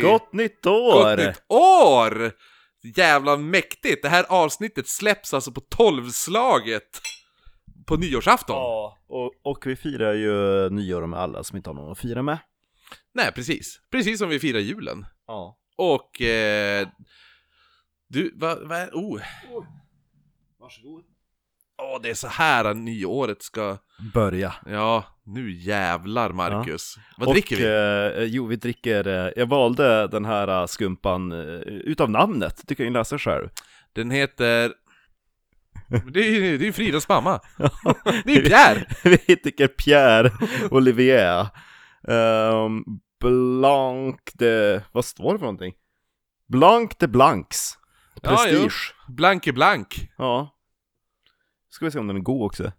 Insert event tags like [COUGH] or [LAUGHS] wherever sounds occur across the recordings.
Gott nytt år! Gott nytt år! Jävla mäktigt! Det här avsnittet släpps alltså på tolvslaget på nyårsafton. Ja, och, och vi firar ju nyår med alla som inte har någon att fira med. Nej, precis. Precis som vi firar julen. Ja. Och... Eh, du, vad va, är... Oh, Varsågod. åh, det är så här nyåret ska... Börja. Ja, nu jävlar Marcus. Vad och, dricker vi? Eh, jo, vi dricker, eh, jag valde den här eh, skumpan eh, utav namnet, du kan ju läsa själv. [LAUGHS] Den heter... Det är ju det är ju Fridas mamma. Det är ju Pierre! vi dricker Pierre Olivier. Um, Blanc de, vad står det för någonting? Blanc de Blancs. Ja, jo. Prestige. Blanke Blank. Ja. Ska vi se om den är god också. Ja,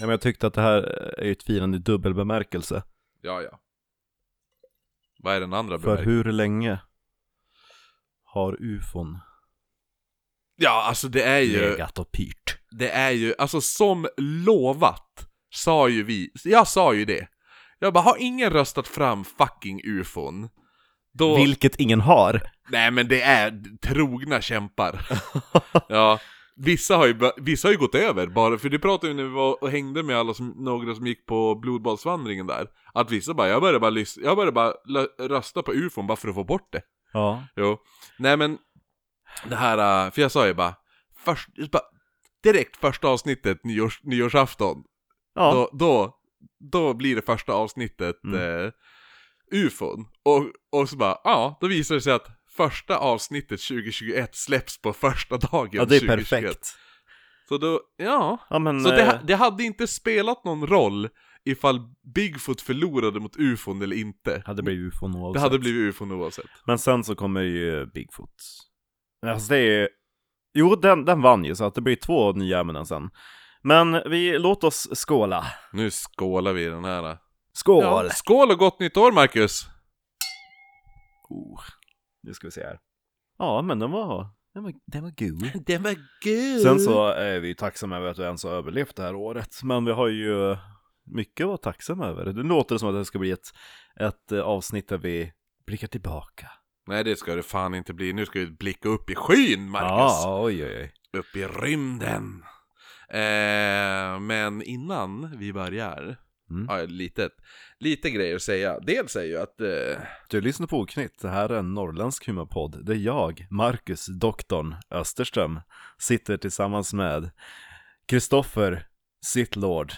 men jag tyckte att det här är ett firande i dubbel bemärkelse. Ja, ja. Vad är den andra För bemärkelsen? hur länge har ufon Ja, alltså det är ju... legat och pyrt? Det är ju, alltså som lovat sa ju vi, jag sa ju det. Jag bara, har ingen röstat fram fucking ufon? Då, Vilket ingen har. nej men det är trogna kämpar. ja, vissa har, ju, bör- vissa har ju gått över bara, för det pratade vi när vi var och hängde med alla som, några som gick på blodbadsvandringen där. Att vissa bara, jag började bara, lys- jag började bara lö- rösta på ufon bara för att få bort det. Ja. Jo. Nej men, det här, äh, för jag sa ju bara, först, bara direkt första avsnittet nyårs, nyårsafton, Ja. då, då, då blir det första avsnittet Mm. eh, ufon. Och, och så bara, ja, då visar det sig att första avsnittet 2021 släpps på första dagen ja, det är 2021. perfekt. Så då, ja. Ja, men, Så det, eh, ha- det hade inte spelat någon roll ifall Bigfoot förlorade mot ufon eller inte. hade blivit ufon Det oavsett. hade blivit ufon oavsett. Men sen så kommer ju Bigfoot. Alltså det är Jo, den, den vann ju så att det blir två nya ämnen sen. Men vi, låt oss skåla. Nu skålar vi i den äh, här. Skål! Ja, skål och gott nytt år Marcus! Oh, nu ska vi se här. Ja, men den var, den var, den var god. Den var god! Sen så är vi tacksamma över att vi ens har överlevt det här året, men vi har ju mycket att vara tacksamma över. Det låter som att det ska bli ett, ett eh, avsnitt där vi blickar tillbaka. Nej det ska det fan inte bli, nu ska vi blicka upp i skyn Marcus! Ja, oj oj oj. Upp i rymden! Eh, men innan vi börjar, Mm. har jag litet, lite grejer att säga. Dels är ju att, eh, Du lyssnar på Oknytt, det här är en norrländsk humorpodd där jag, Marcus, doktorn Österström, sitter tillsammans med Kristoffer, Sittlord,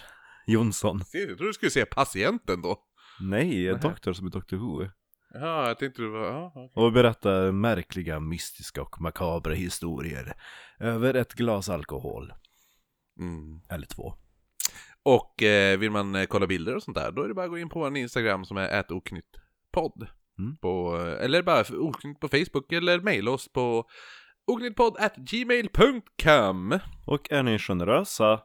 Jonsson. jag trodde du skulle säga patienten då. Nej, Nähä. doktor som är Dr Who. Ja, jag tänkte du var, ja, okej. Och berättar märkliga, mystiska och makabra historier över ett glas alkohol. mm. Eller två. Och eh, vill man eh, kolla bilder och sånt där, då är det bara att gå in på vår Instagram som är @oknyttpodd. Mm. På, eh, eller bara f- oknytt på Facebook eller mejla oss på oknyttpodd.gmail.com Och är ni generösa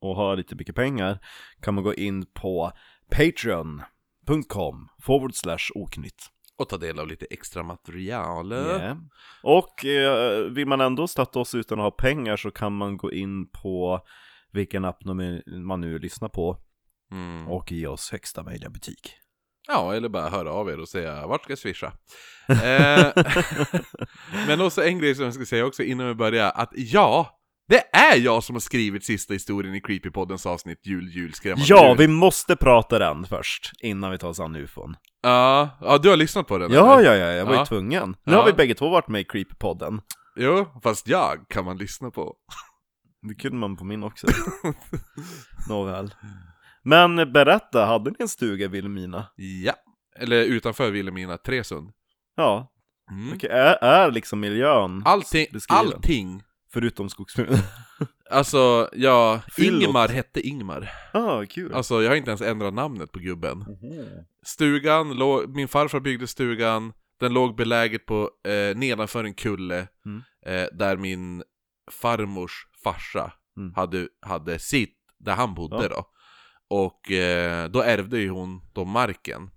och har lite mycket pengar kan man gå in på patreon.com forward slash oknytt. och ta del av lite extra material. Yeah. Och eh, vill man ändå stötta oss utan att ha pengar så kan man gå in på vilken app de- man nu lyssnar på Mm. och ge oss högsta möjliga betyg. Ja, eller bara höra av er och säga vart ska jag swisha? [LAUGHS] eh, men också en grej som jag ska säga också innan vi börjar, att ja, det är jag som har skrivit sista historien i Creepypoddens avsnitt Jul, jul, skrämmande Ja, jul. vi måste prata den först innan vi tar oss an ufon. Ja, ja, du har lyssnat på den? Ja, eller? ja, ja, jag var Ja. ju tvungen. Nu Ja. har vi bägge två varit med i Creep-podden. Jo, fast jag kan man lyssna på. Det kunde man på [LAUGHS] min också. Nåväl. Men berätta, hade ni en stuga i Vilhelmina? Ja. Eller utanför Vilhelmina, Tresund. Ja, Mm. okej, är, är liksom miljön, Allting, Beskriv den. allting. förutom skogsmiljön? [LAUGHS] Alltså, ja, Fyllot. Ingmar hette Ingmar. ah, kul. Alltså, jag har inte ens ändrat namnet på gubben. Stugan, låg, min farfar byggde stugan, den låg beläget på, eh, nedanför en kulle, Mm. eh, där min farmors farsa Mm. hade, hade sitt, där han bodde Ja. då. Och eh, då ärvde ju hon då marken.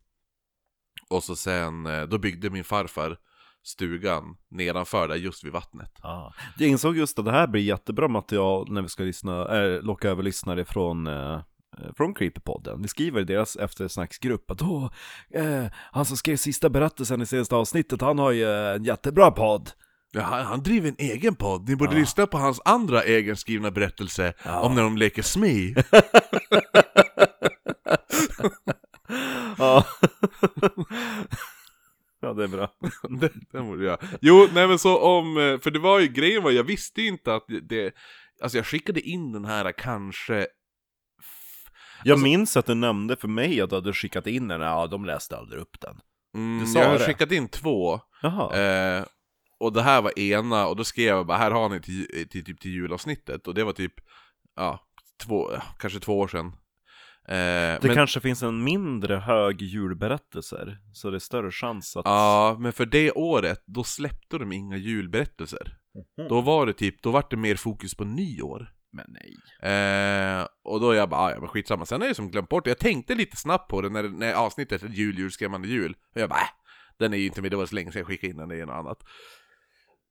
Och så sen, eh, då byggde min farfar stugan nedanför där, just vid vattnet. Ah. Jag insåg just att det här blir jättebra material när vi ska lyssna, äh, locka över lyssnare från eh, eh, från Creepypodden. Vi skriver i deras eftersnacksgrupp att åh, eh, han som skrev sista berättelsen i senaste avsnittet, han har ju eh, en jättebra podd. Ja, han, han driver en egen podd, ni borde Ja. lyssna på hans andra egenskrivna berättelse Ja. om när de leker smi. Ja. [LAUGHS] ja, det är bra. [LAUGHS] Den- Den borde jag. Jo, nej men så om, eh, för det var ju grejen var, jag visste ju inte att det, alltså jag skickade in den här kanske Jag minns att du nämnde för mig att du hade skickat in den, ja de läste aldrig upp den. Mm, Du sa jag har det. skickat in två, Jaha. eh, och det här var ena, och då skrev jag bara här har ni till, till, typ till julavsnittet, och det var typ, ja, två, ja, kanske två år sedan. Eh, Det men, kanske finns en mindre hög julberättelser, så det är större chans att... Ja, men för det året, då släppte de inga julberättelser. Mhm. Då var det typ, då var det mer fokus på nyår. Men nej. Eh, och då jag bara, "Ah, ja men skitsamma. Sen har jag som glömt bort det. Jag tänkte lite snabbt på det när, när avsnittet är jul, jul, skrämmande jul. Och jag bara, äh, den är ju inte med, det var så länge sedan jag skickade in den, det är något annat.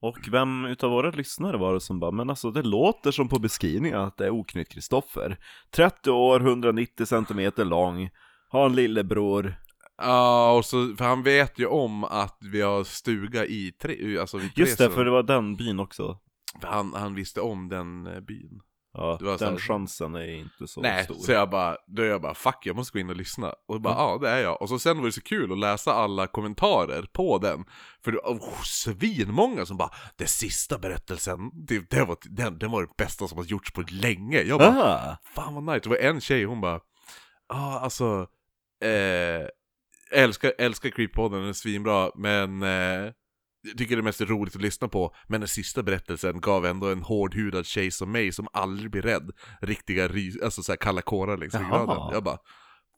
Och vem utav våra lyssnare var det som bara, men alltså det låter som på beskrivningen att det är oknytt Kristoffer. 30 år, 190 centimeter lång, har en lillebror. Ja, och så, för han vet ju om att vi har stuga i tre, alltså vid Just det, Tresor. för det var den byn också. För han, han visste om den eh, byn. Ja, Det var så den här- chansen är inte så Nej, stor. Mm. så jag bara, då jag bara fuck jag måste gå in och lyssna. Och bara ja det är jag. Och så sen var det så kul att läsa alla kommentarer på den. För det var oh, svinmånga som bara, det sista berättelsen, det, det var, den, den var det bästa som har gjorts på länge. Jag bara, Ah, fan vad nice. Det var en tjej, hon bara, ja ah, alltså, eh, älskar, älskar Creep-podden, den är svinbra, men eh, jag tycker det mest är roligt att lyssna på, men den sista berättelsen gav ändå en hårdhudad tjej som mig som aldrig blir rädd, riktiga ry- alltså så här kalla kårar längs Jaha. ryggraden. Jag bara,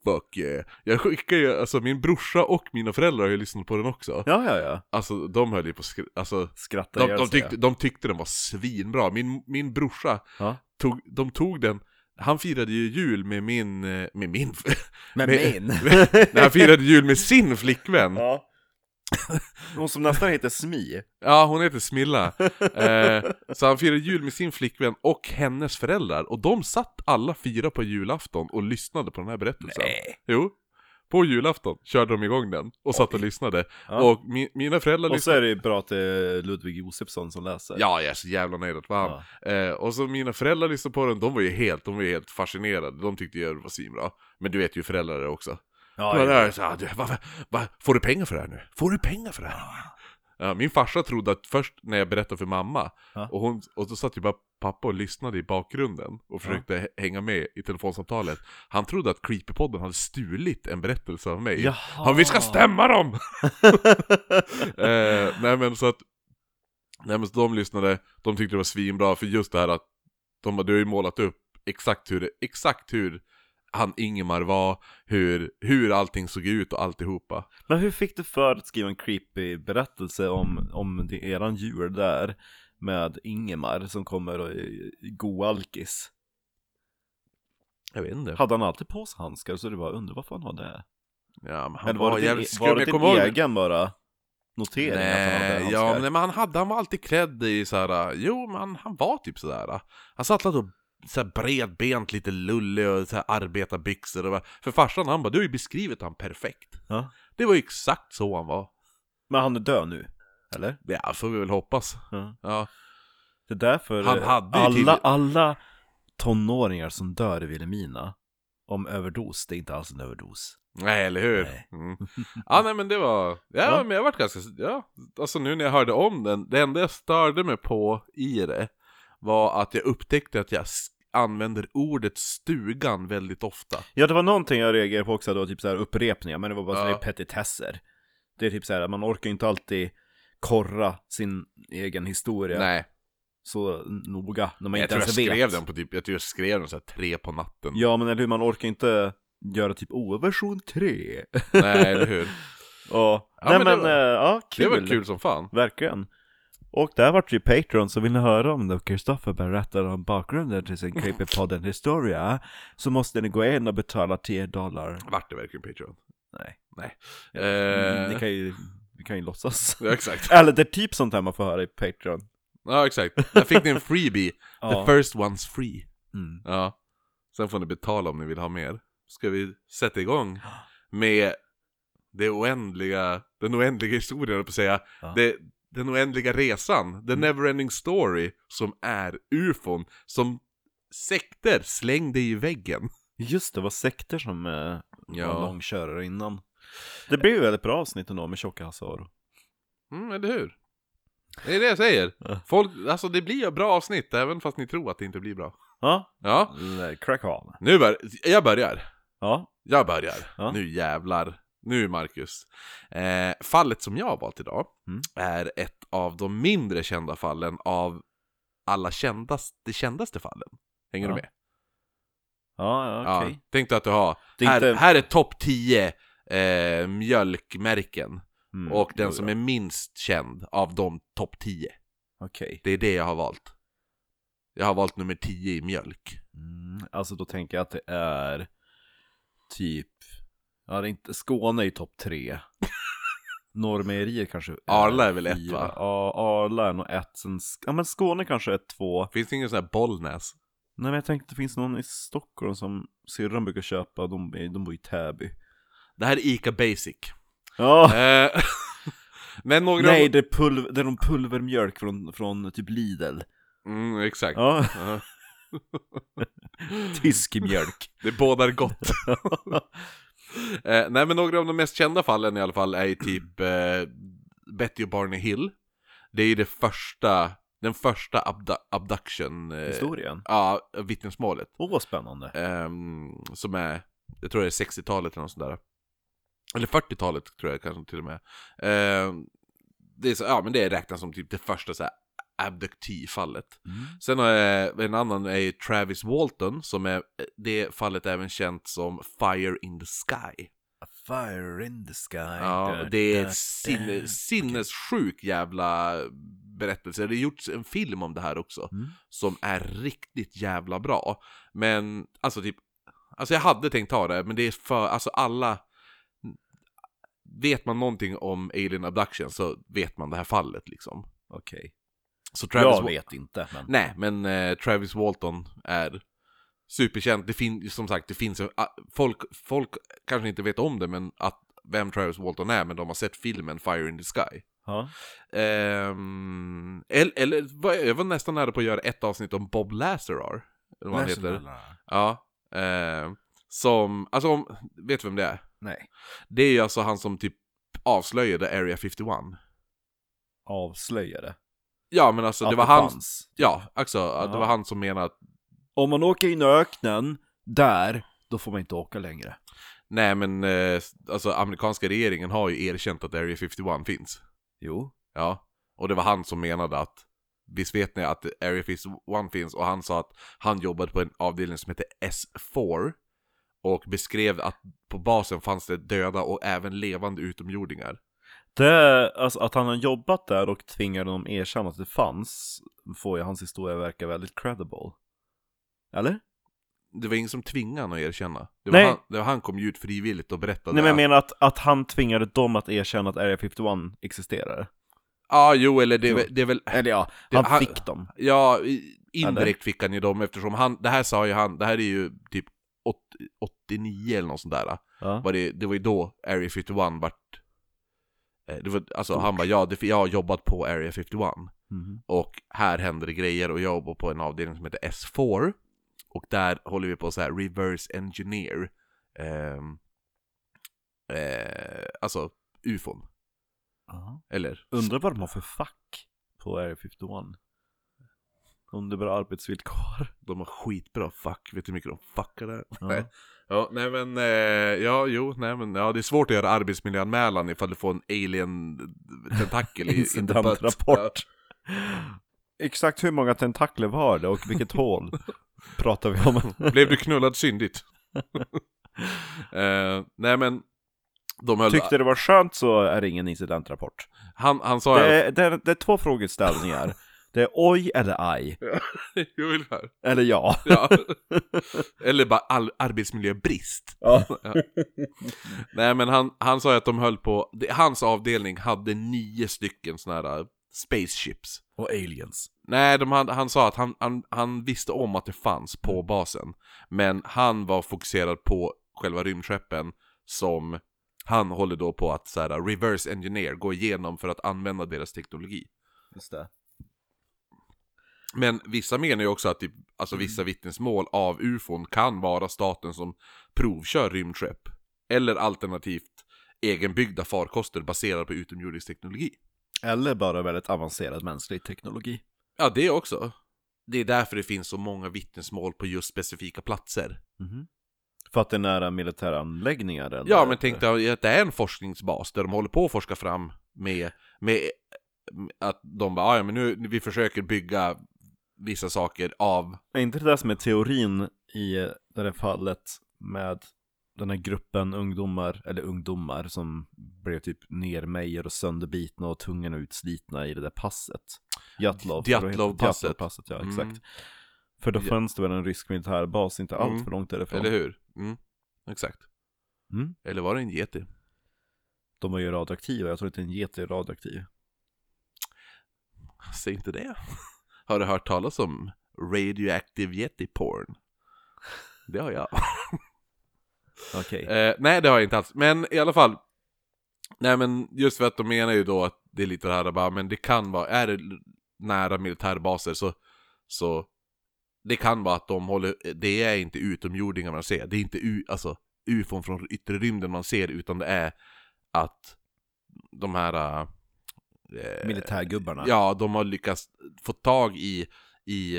fuck yeah. Jag skickar ju, alltså min brorsa och mina föräldrar har ju lyssnat på den också. ja, ja, ja. Alltså de höll ju på skri- alltså Skrattar de, ihjäl de, sig. tyckte, de tyckte den var svinbra. Min, min brorsa, Ja. tog, de tog den, han firade ju jul med min, eh, med [LAUGHS] min, [LAUGHS] Men med- min! nej, han firade jul med sin flickvän. [LAUGHS] Ja, ja. Hon som nästan heter Smi. liksom. hon heter Smilla. Eh, så han firade jul med sin flickvän och hennes föräldrar. Och de satt alla fyra på julafton och lyssnade på den här berättelsen. Jo. På julafton körde de igång den och satt och lyssnade. Ja. Och mi, mina föräldrar Och så lyssnade. är det ju bra att det är Ludvig Josefsson som läser. Ja, jag är så jävla nöjd att det var han. Ja. Eh, och så mina föräldrar lyssnade på den, de var ju helt, de var ju helt fascinerade, de tyckte ju det var svinbra. Men du vet ju föräldrar är också. Ja, Ja, ja. ja. Så, ah, du, vad- vad- vad- får du pengar för det här nu? Får du pengar för det här? Ja, min farsa trodde att först när jag berättade för mamma, Ja. och, hon, och då satt ju bara pappa och lyssnade i bakgrunden och försökte hä- hänga med i telefonsamtalet. Han trodde att Creepypodden hade stulit en berättelse av mig. Jaha. Han, vi ska [LAUGHS] stämma dem! eh, nej men så att, nej men så de lyssnade, de tyckte det var svinbra för just det här att de bara, du har ju målat upp exakt hur, det- exakt hur han Ingemar var, hur, hur allting såg ut och alltihopa. Men hur fick du för att skriva en creepy berättelse om, om det, eran djur där med Ingemar som kommer och är goalkis? Jag vet inte. Hade han alltid på sig handskar så du bara undrar varför han har det? Ja, men han Eller var, var det jävligt din, skum, e- var det jag din kommer ihåg- egen bara notering att han hade Nej, handskar? ja, men, men han, hade, han var alltid klädd i såhär, jo men han, han var typ sådär. Han satt alltid och så här bredbent, lite lullig och så här arbetarbyxor och bara- För farsan han bara, du har ju beskrivit han perfekt. Ja. Det var ju exakt så han var. men han är död nu, eller? Ja, får vi väl hoppas. Ja. Ja, Det är därför Han hade ju alla, tydligt- alla tonåringar som dör i Vilhelmina om överdos, det är inte alls en överdos. nej eller hur? Nej. Mm. Ja, nej men det var, ja, Ja. men jag vart ganska, ja, alltså nu när jag hörde om den, det enda jag störde mig på i det var att jag upptäckte att jag s- använder ordet stugan väldigt ofta. Ja det var någonting jag reagerade på också, det var typ så här upprepningar, men det var bara Ja. såna här petitesser. Det är typ så här, man orkar ju inte alltid korra sin egen historia Nej, så noga när man jag inte tror jag ens skrev vet. den på typ, jag tror jag skrev den så här tre på natten. Ja men eller hur, man orkar inte göra typ oh, version 3. [LAUGHS] Nej, eller hur? ja, men nej det men, var- eh, ja Det kul. var kul som fan. Verkligen. Och där vart det ju Patreon, så vill ni höra om det och Kristoffer berättar om [LAUGHS] bakgrunden till sin Creepypodden historia så måste ni gå in och betala 10 dollar. Vart det verkligen Patreon? Nej. Nej. Mm, Ni Eh, kan ju, vi kan ju låtsas. [LAUGHS] ja, exakt. Eller det är typ sånt här man får höra i Patreon. [LAUGHS] Ja, exakt. Där fick ni en freebie. Ja. The first one's free. Mm. Ja. Sen får ni betala om ni vill ha mer. Ska vi sätta igång med det oändliga, den oändliga historien, höll jag på att säga. Ja. Det, den oändliga resan, the neverending story, som är ufon, som sekter slängde i väggen. Just det, det var sekter som eh, var Ja, långkörare innan. Det blev ju väldigt bra avsnitt ändå med tjocka Hasaro. mm, eller hur? Det är det jag säger. Ja. Folk, alltså det blir bra avsnitt, även fast ni tror att det inte blir bra. Ja, Ja, l- crack on. nu bör, jag börjar. Ja, Jag börjar. Ja. Nu jävlar. Nu Marcus. Eh, fallet som jag har valt idag Mm. är ett av de mindre kända fallen av alla kändaste, de kändaste fallen. Hänger Ja, du med? ja, ja, okej. Tänk dig att du har, Det är här, inte- här är topp 10 eh, mjölkmärken Mm, och jo, den som ja. är minst känd av de topp 10. Okej. Det är det jag har valt. Jag har valt nummer 10 i mjölk. Mm, alltså då tänker jag att det är typ, ja det är inte, Skåne är ju topp [LAUGHS] tre. Norrmejerier kanske är Arla är väl ett, fyra. va? Ja, Arla är nog ett, sen, Sk- ja men Skåne kanske är två. Finns det ingen sån här Bollnäs? Nej men jag tänkte det finns någon i Stockholm som syrran brukar köpa, de, är- de bor i Täby. Det här är Ica Basic. Ja! Eh, [LAUGHS] Men några... [LAUGHS] Nej, det är, pulver, det är någon pulvermjölk från, från typ Lidl. Mm, exakt. Ja, Ja. [LAUGHS] tysk [LAUGHS] mjölk. Det bådar gott. eh, nej men några av de mest kända fallen i alla fall är ju typ eh, Betty och Barney Hill. Det är ju det första, den första abdu- abduction... Eh, Historien. ja, vittnesmålet. Åh, vad spännande. Ehm, som är, jag tror det är 60-talet eller något sånt där. Eller 40-talet tror jag kanske till och med. Ehm, det är så, ja men det räknas som typ det första så här abductivfallet. Mm. Sen har jag en annan är ju Travis Walton som är det fallet är även känt som Fire in the Sky. A fire in the sky. Ja, Da, det är da, en sinne, da. sinnessjuk jävla berättelse. Det har gjorts en film om det här också Mm. som är riktigt jävla bra. Men alltså typ, alltså jag hade tänkt ta det, men det är för, alltså alla Vet man någonting om alien abduction så vet man det här fallet liksom. Okej. Så Travis Jag Wa- vet inte, men... Nej, men eh, Travis Walton är superkänd. Det finns, som sagt, det finns, en- ah, folk, folk kanske inte vet om det, men att vem Travis Walton är, men de har sett filmen Fire in the Sky. Ja. Ehm, el- eller, vad- jag var nästan nära på att göra ett avsnitt om Bob Lazar, eller vad han heter. Ja. ehm, som, alltså, om, vet du vem det är? Nej. Det är ju alltså han som typ avslöjade Area 51. Avslöjade. Ja, men alltså Att det var han, fanns. ja, alltså, det Ja. var han som menade att Om man åker in i öknen, där, då får man inte åka längre. Nej men eh, alltså amerikanska regeringen har ju erkänt att Area 51 finns. Jo. Ja. Och det var han som menade att visst vet ni att Area 51 finns och han sa att han jobbade på en avdelning som hette S4 och beskrev att på basen fanns det döda och även levande utomjordingar. Det, alltså att han har jobbat där och tvingade dem erkänna att det fanns, får ju hans historia verka väldigt credible. Eller? Det var ingen som tvingade honom att erkänna. Det var, Nej. han, det var han kom ju ut frivilligt och berättade. Nej men jag att- menar att, att han tvingade dem att erkänna att Area 51 existerar. Ja, jo, eller det, är Jo. väl- det är väl... Eller ja, Det- han han- fick dem. Ja, i- indirekt fick han ju dem eftersom han, det här sa ju han, det här är ju typ 80, 89 eller något sånt där. Ja. Var det, det var ju då Area 51 vart... eh, Det var, alltså han bara ja, det, jag har jobbat på Area 51 Mhm. och här händer det grejer och jag jobbar på en avdelning som heter S4 och där håller vi på så här reverse engineer, ehm, eh, alltså ufon, Ja. eller? Undrar vad de har för fack på Area 51. Om det är bra arbetsvillkor. De har skitbra fuck, vet du hur mycket de fuckar där? Ja. [LAUGHS] Nej. Ja, nej men, eh, ja, jo, nej men, ja det är svårt att göra arbetsmiljöanmälan ifall du får en alien-tentakel i- [LAUGHS] i butt. Incidentrapport. Exakt hur många tentakler var det [LAUGHS] och vilket hål pratar vi om? Ja. Blev du knullad [LAUGHS] syndigt? eh, nej men, de höll, Tyckte det var skönt så är det ingen incidentrapport. han, han sa [LAUGHS] Det ju, är, det är, det är två frågeställningar. Det är oj eller aj. jag vill här. Eller ja. Ja. [LAUGHS] Eller bara all, arbetsmiljöbrist. Nej men han, han sa ju att de höll på, det, hans avdelning hade nio stycken såna här eh, spaceships. [LAUGHS] Och aliens. Nej, de, han, han sa att han, han, han visste om att det fanns på basen. Men han var fokuserad på själva rymdskeppen som han håller då på att så här, reverse engineer, gå igenom för att använda deras teknologi. Just det. Men vissa menar ju också att typ, alltså vissa vittnesmål av ufon kan vara staten som provkör rymdskepp. Eller alternativt egenbyggda farkoster baserade på utomjordisk teknologi. Eller bara väldigt avancerad mänsklig teknologi. Ja, det också. Det är därför det finns så många vittnesmål på just specifika platser. För att det är nära militära anläggningar eller? Mhm. Ja, men tänk dig att det är en forskningsbas där de håller på att forska fram med, med att de bara, "Ah, ja men nu, vi försöker bygga vissa saker av, Är inte det där som är teorin i det här fallet med den här gruppen ungdomar, eller ungdomar som blev typ nermejer och sönderbitna och tungan utslitna i det där passet? Djatlov. för då heter det Djatlovpasset. Djatlovpasset, ja Mm. exakt. För då Ja. fanns det väl en rysk militärbas inte allt Mm. för långt därifrån. eller hur? Mm, exakt. Mm. Eller var det en yeti? [LAUGHS] De var ju radioaktiva, jag tror inte en get är radioaktiv. Säg inte det. Har du hört talas om radioactive yeti porn? Det har jag. Okej. Eh, nej, det har jag inte alls. Men i alla fall. Nej, men just för att de menar ju då att det är lite det här bara, men det kan vara, är det nära militärbaser så, så det kan vara att de håller, det är inte utomjordingar man ser, det är inte u, alltså, ufon från yttre rymden man ser, utan det är att de här... eh, Militärgubbarna. Ja, de har lyckats få tag i, i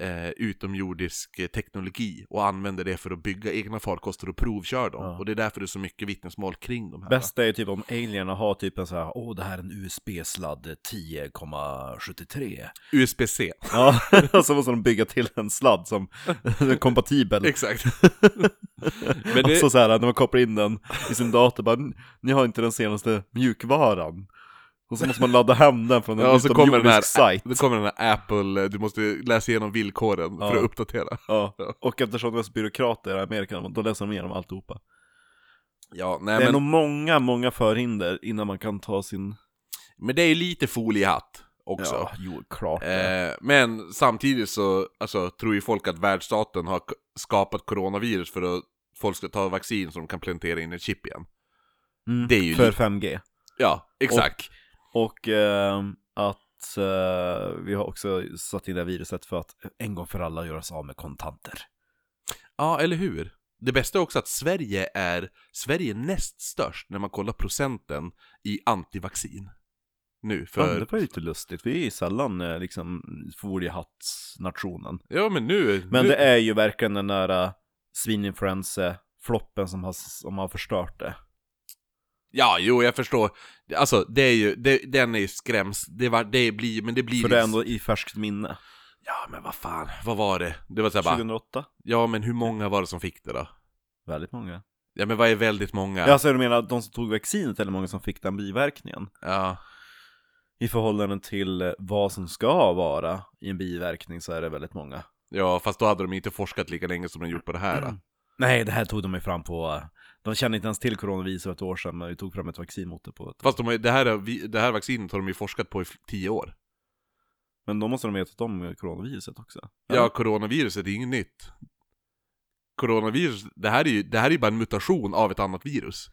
eh, utomjordisk eh, teknologi och använder det för att bygga egna farkoster och provkör dem. Ja. Och det är därför det är så mycket vittnesmål kring de här. Bästa är ju typ om alienerna har typ en så här, åh det här är en USB-sladd 10,73. USB-C. Ja, [LAUGHS] och så måste de bygga till en sladd som [LAUGHS] är kompatibel. Exakt. Alltså, Men [LAUGHS] Men det, Och så, så här, när man kopplar in den i sin dator, bara, ni har inte den senaste mjukvaran. Och så måste man ladda hem den från en ja, och så kommer den här, utomjordisk sajt. det kommer den här Apple, eh, du måste läsa igenom villkoren för Ja. att uppdatera. Ja. Och eftersom det är så byråkrater i Amerika, då läser de igenom alltihopa. Ja, Det nej är men, nog många, många förhinder innan man kan ta sin... men det är ju lite foliehatt också. Ja, jo, klart. det. Eh, men samtidigt så alltså, tror ju folk att världsstaten har k- skapat coronavirus för att folk ska ta vaccin som de kan plantera in i chip igen. Mm, det är ju för lite- 5G. Ja, exakt. Och ehm, att eh, vi har också satt in det här viruset för att en gång för alla göra sig av med kontanter. Ja, eller hur? Det bästa är också att Sverige är Sverige är näst störst när man kollar procenten i antivaccin. Nu, För... för... Det var ju lite lustigt, vi är ju sällan eh, liksom foliehattsnationen. Ja, men nu... Men nu... det är ju verkligen den där svininfluensa-floppen som har, som har förstört det. Ja, jo, jag förstår. Alltså, det är ju... Det, den är ju skräms... Det, var, det blir... Men det blir... liksom- För det är ändå i färskt minne. Ja, men vad fan. Vad var det? Det var så här bara... 2008? Ja, men hur många var det som fick det då? Väldigt många. Ja men vad är väldigt många? Ja. Alltså du menar de som tog vaccinet eller många som fick den biverkningen? Ja. I förhållande till eh, vad som ska vara i en biverkning så är det väldigt många. ja, fast då hade de inte forskat lika länge som de gjort på det här. Mm. då. [CLEARS THROAT] Nej, det här tog de ju fram på... eh, De kände inte ens till coronavirus för ett år sedan, men vi tog fram ett vaccin mot det på ett... Fast de, har ju- det, här, har vi- det här vaccinet har de ju forskat på i fl- tio år. Men då måste de vetat om coronaviruset också. Ja, coronaviruset är inget nytt. Coronavirus, det här är ju det här är ju bara en mutation av ett annat virus.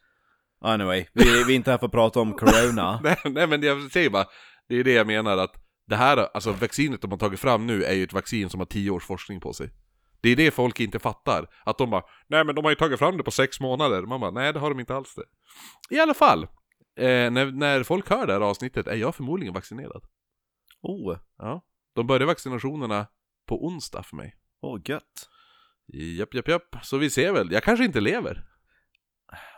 Anyway, vi, vi är inte här för att prata om [LAUGHS] corona. [LAUGHS] nej, nej men jag säger bara, det är det jag menar att det här, alltså vaccinet de har tagit fram nu är ju ett vaccin som har tio års forskning på sig. Det är det folk inte fattar. Att de bara, nej men de har ju tagit fram det på sex månader. Man bara, nej det har de inte alls det. I alla fall, eh, när, när folk hör det här avsnittet är jag förmodligen vaccinerad. Åh, oh, Ja. De börjar vaccinationerna på onsdag för mig. åh Oh, gött. Japp, japp, japp. Så vi ser väl, jag kanske inte lever.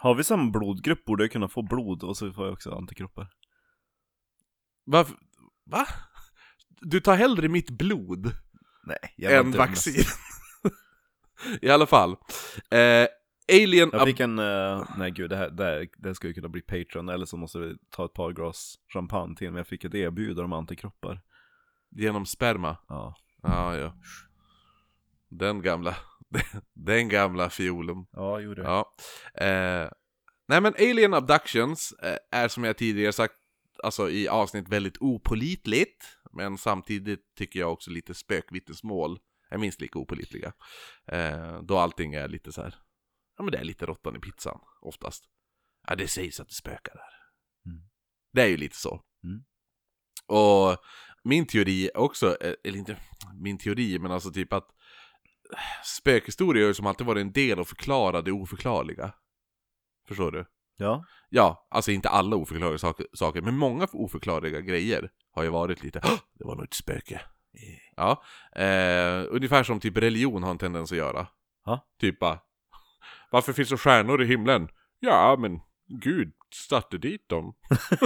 Har vi samma blodgrupp borde jag kunna få blod och så får jag också antikroppar. Varför? Va? Du tar hellre mitt blod? Nej, än vaccin. [LAUGHS] I alla fall. Eh, Alien... Jag fick en, eh, nej gud det här, det här, det här skulle kunna bli Patreon eller så måste vi ta ett par glas champagne till men jag fick ett erbjudande om antikroppar. Genom sperma. Ja, Ja, ja. Den gamla. [LAUGHS] Den gamla fiolen. ja gjorde jag. Ja. Eh, nej men Alien Abductions eh, är som jag tidigare sagt, alltså i avsnitt väldigt opolitligt. Men samtidigt tycker jag också lite spökvittnesmål är minst lika opolitliga. Eh, då allting är lite så här, ja men det är lite råttan i pizzan oftast. Ja, det sägs att det spökar där. Mm. Det är ju lite så. Mm. Och min teori också, eh, eller inte min teori, men alltså typ att spökhistorier har ju som alltid varit en del att förklara det oförklarliga. Förstår du? Ja. Ja, alltså inte alla oförklarliga saker, saker men många oförklarliga grejer har ju varit lite "Hå! Det var nog ett spöke. Ja, eh, ungefär som typ religion har en tendens att göra. Ja. Typ bara, varför finns det stjärnor i himlen? Ja, men Gud satte dit dem. [LAUGHS]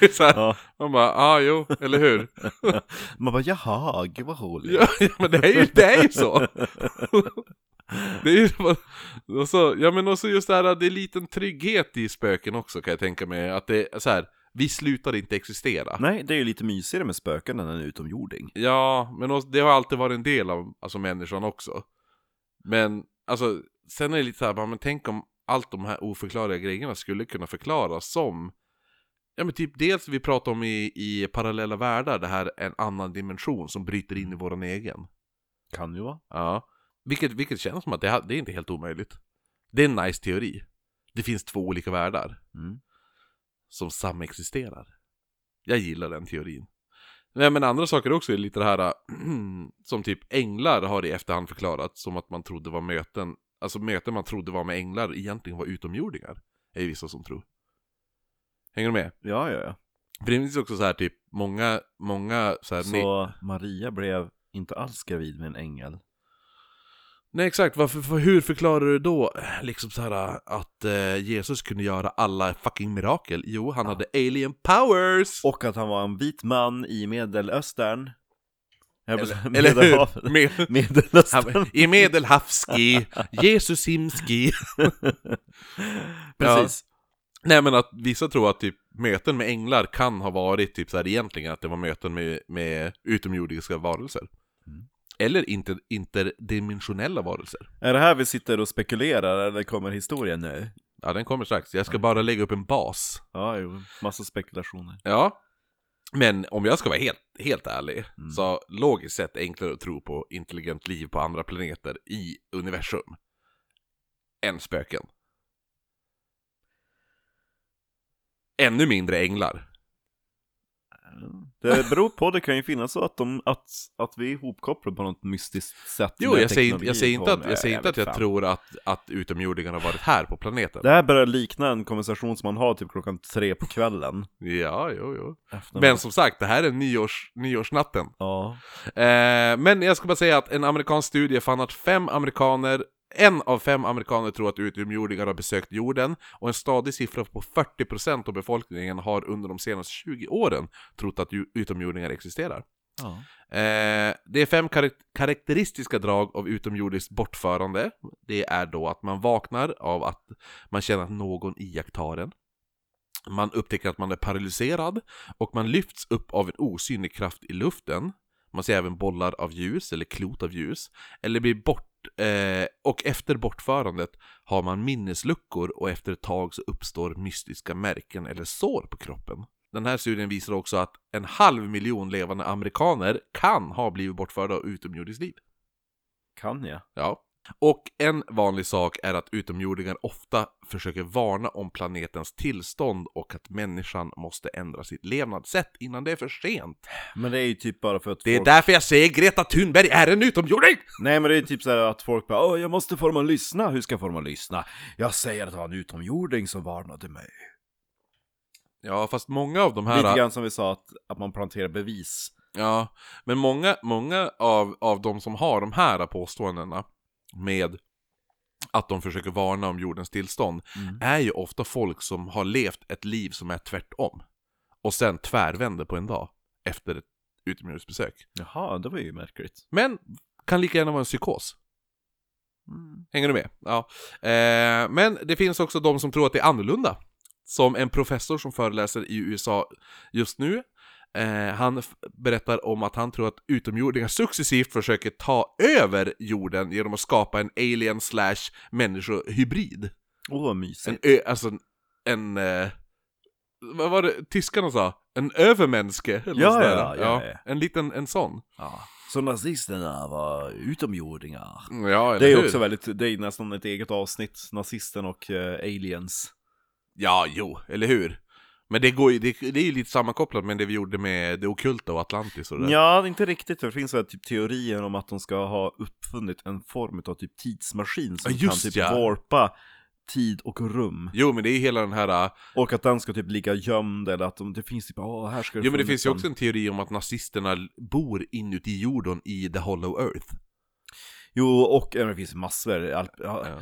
Det är så här, ja. Man bara, ah jo, eller hur? Man bara jaha, gud vad roligt. Ja, ja, men det är ju, det är ju så. Det är ju, och så, ja men också just det här, det är en liten trygghet i spöken också kan jag tänka mig. Att det är så här, vi slutar inte existera. Nej, det är ju lite mysigare med spöken än en utomjording. Ja, men också, det har alltid varit en del av alltså, människan också. Men alltså, sen är det lite så här, bara, men tänk om allt de här oförklarliga grejerna skulle kunna förklaras som Ja men typ dels vi pratar om i, i parallella världar, det här är en annan dimension som bryter in i våran egen. Kan ju vara. Ja. Vilket, vilket känns som att det, ha- det är inte helt omöjligt. Det är en nice teori. Det finns två olika världar Mm. som samexisterar. Jag gillar den teorin. Nej men andra saker också är lite det här [CLEARS THROAT] som typ änglar har i efterhand förklarat som att man trodde var möten, alltså möten man trodde var med änglar egentligen var utomjordingar. Är ju vissa som tror. Hänger du med? Ja, ja, ja. För det finns också så här typ många, många så här, ne- Så Maria blev inte alls gravid med en ängel. Nej exakt, varför, för, hur förklarar du då liksom så här att eh, Jesus kunde göra alla fucking mirakel? Jo, han hade alien powers! Och att han var en vit man i medelöstern. Jag vill säga eller, [LAUGHS] eller hur? Medelhavet. Med, Medelöstern. [LAUGHS] I medelhavski, Jesusimski. [LAUGHS] Precis. [LAUGHS] Nej men att vissa tror att typ möten med änglar kan ha varit typ så här egentligen att det var möten med, med utomjordiska varelser. Mm. Eller inter, interdimensionella varelser. Är det här vi sitter och spekulerar eller kommer historien nu? Ja, den kommer strax. Jag ska bara lägga upp en bas. Ja, jo. Massa spekulationer. Ja. Men om jag ska vara helt, helt ärlig, Mm. så logiskt sett enklare att tro på intelligent liv på andra planeter i universum. Än spöken. Ännu mindre änglar. Det beror på, det kan ju finnas så att, de, att, att vi är ihopkopplade på något mystiskt sätt. Jo, med jag säger, inte- jag teknologi säger inte på- att jag, säger inte vet att jag fan. tror att, att utomjordingarna har varit här på planeten. Det här börjar likna en konversation som man har typ klockan tre på kvällen. Ja, jo, jo. Efter Men som sagt, det här är nyårs, nyårsnatten. Ja. Eh, men jag ska bara säga att en amerikansk studie fann att fem amerikaner en av fem amerikaner tror att utomjordingar har besökt jorden och en stadig siffra på 40% av befolkningen har under de senaste 20 åren trott att ju- utomjordingar existerar. ja. Eh, det är fem karak- karaktäristiska drag av utomjordiskt bortförande. Det är då att man vaknar av att man känner att någon iakttar en. Man upptäcker att man är paralyserad och man lyfts upp av en osynlig kraft i luften. Man ser även bollar av ljus eller klot av ljus. Eller blir bort... Eh, och efter bortförandet har man minnesluckor och efter ett tag så uppstår mystiska märken eller sår på kroppen. Den här studien visar också att en halv miljon levande amerikaner kan ha blivit bortförda av utomjordiskt liv. Kan jag? Ja. Och en vanlig sak är att utomjordingar ofta försöker varna om planetens tillstånd och att människan måste ändra sitt levnadssätt innan det är för sent. Men det är ju typ bara för att Det är folk... därför jag säger Greta Thunberg är en utomjording! Nej men det är typ så här att folk bara Åh, jag måste få dem att lyssna, hur ska jag få dem att lyssna? Jag säger att det var en utomjording som varnade mig Ja, fast många av de här... Lite grann som vi sa att, att man planterar bevis Ja, men många, många av, av de som har de här påståendena med att de försöker varna om jordens tillstånd Mm. är ju ofta folk som har levt ett liv som är tvärtom och sen tvärvänder på en dag efter ett utomjordsbesök. Jaha, det var ju märkligt Men kan lika gärna vara en psykos. Hänger du med? Ja. Eh, men det finns också de som tror att det är annorlunda. Som en professor som föreläser i USA just nu. Eh, han f- berättar om att han tror att utomjordingar successivt försöker ta över jorden genom att skapa en alien slash människohybrid. Åh, vad En mysigt ö, alltså en... en eh, vad var det tyskarna sa? En övermänske eller Ja, sådär. ja, ja, ja. En liten, en sån. Ja. Så nazisterna var utomjordingar. Ja, Det eller är hur? också väldigt, det är nästan ett eget avsnitt, nazisten och eh, aliens. Ja, jo, eller hur? Men det, går ju, det, det är ju lite sammankopplat med det vi gjorde med det okulta och Atlantis och det där. Ja, inte riktigt. Det finns väl typ teorier om att de ska ha uppfunnit en form av typ tidsmaskin som Ja, kan just typ ja. warpa tid och rum. Jo, men det är hela den här... äh, Och att den ska typ ligga gömd eller att de, det finns typ, åh här ska Jo, men det finns ju funnits också en teori om att nazisterna l- bor inuti jorden i the hollow earth. en- Jo, och ja, men det finns massor. All... Ja, Ja.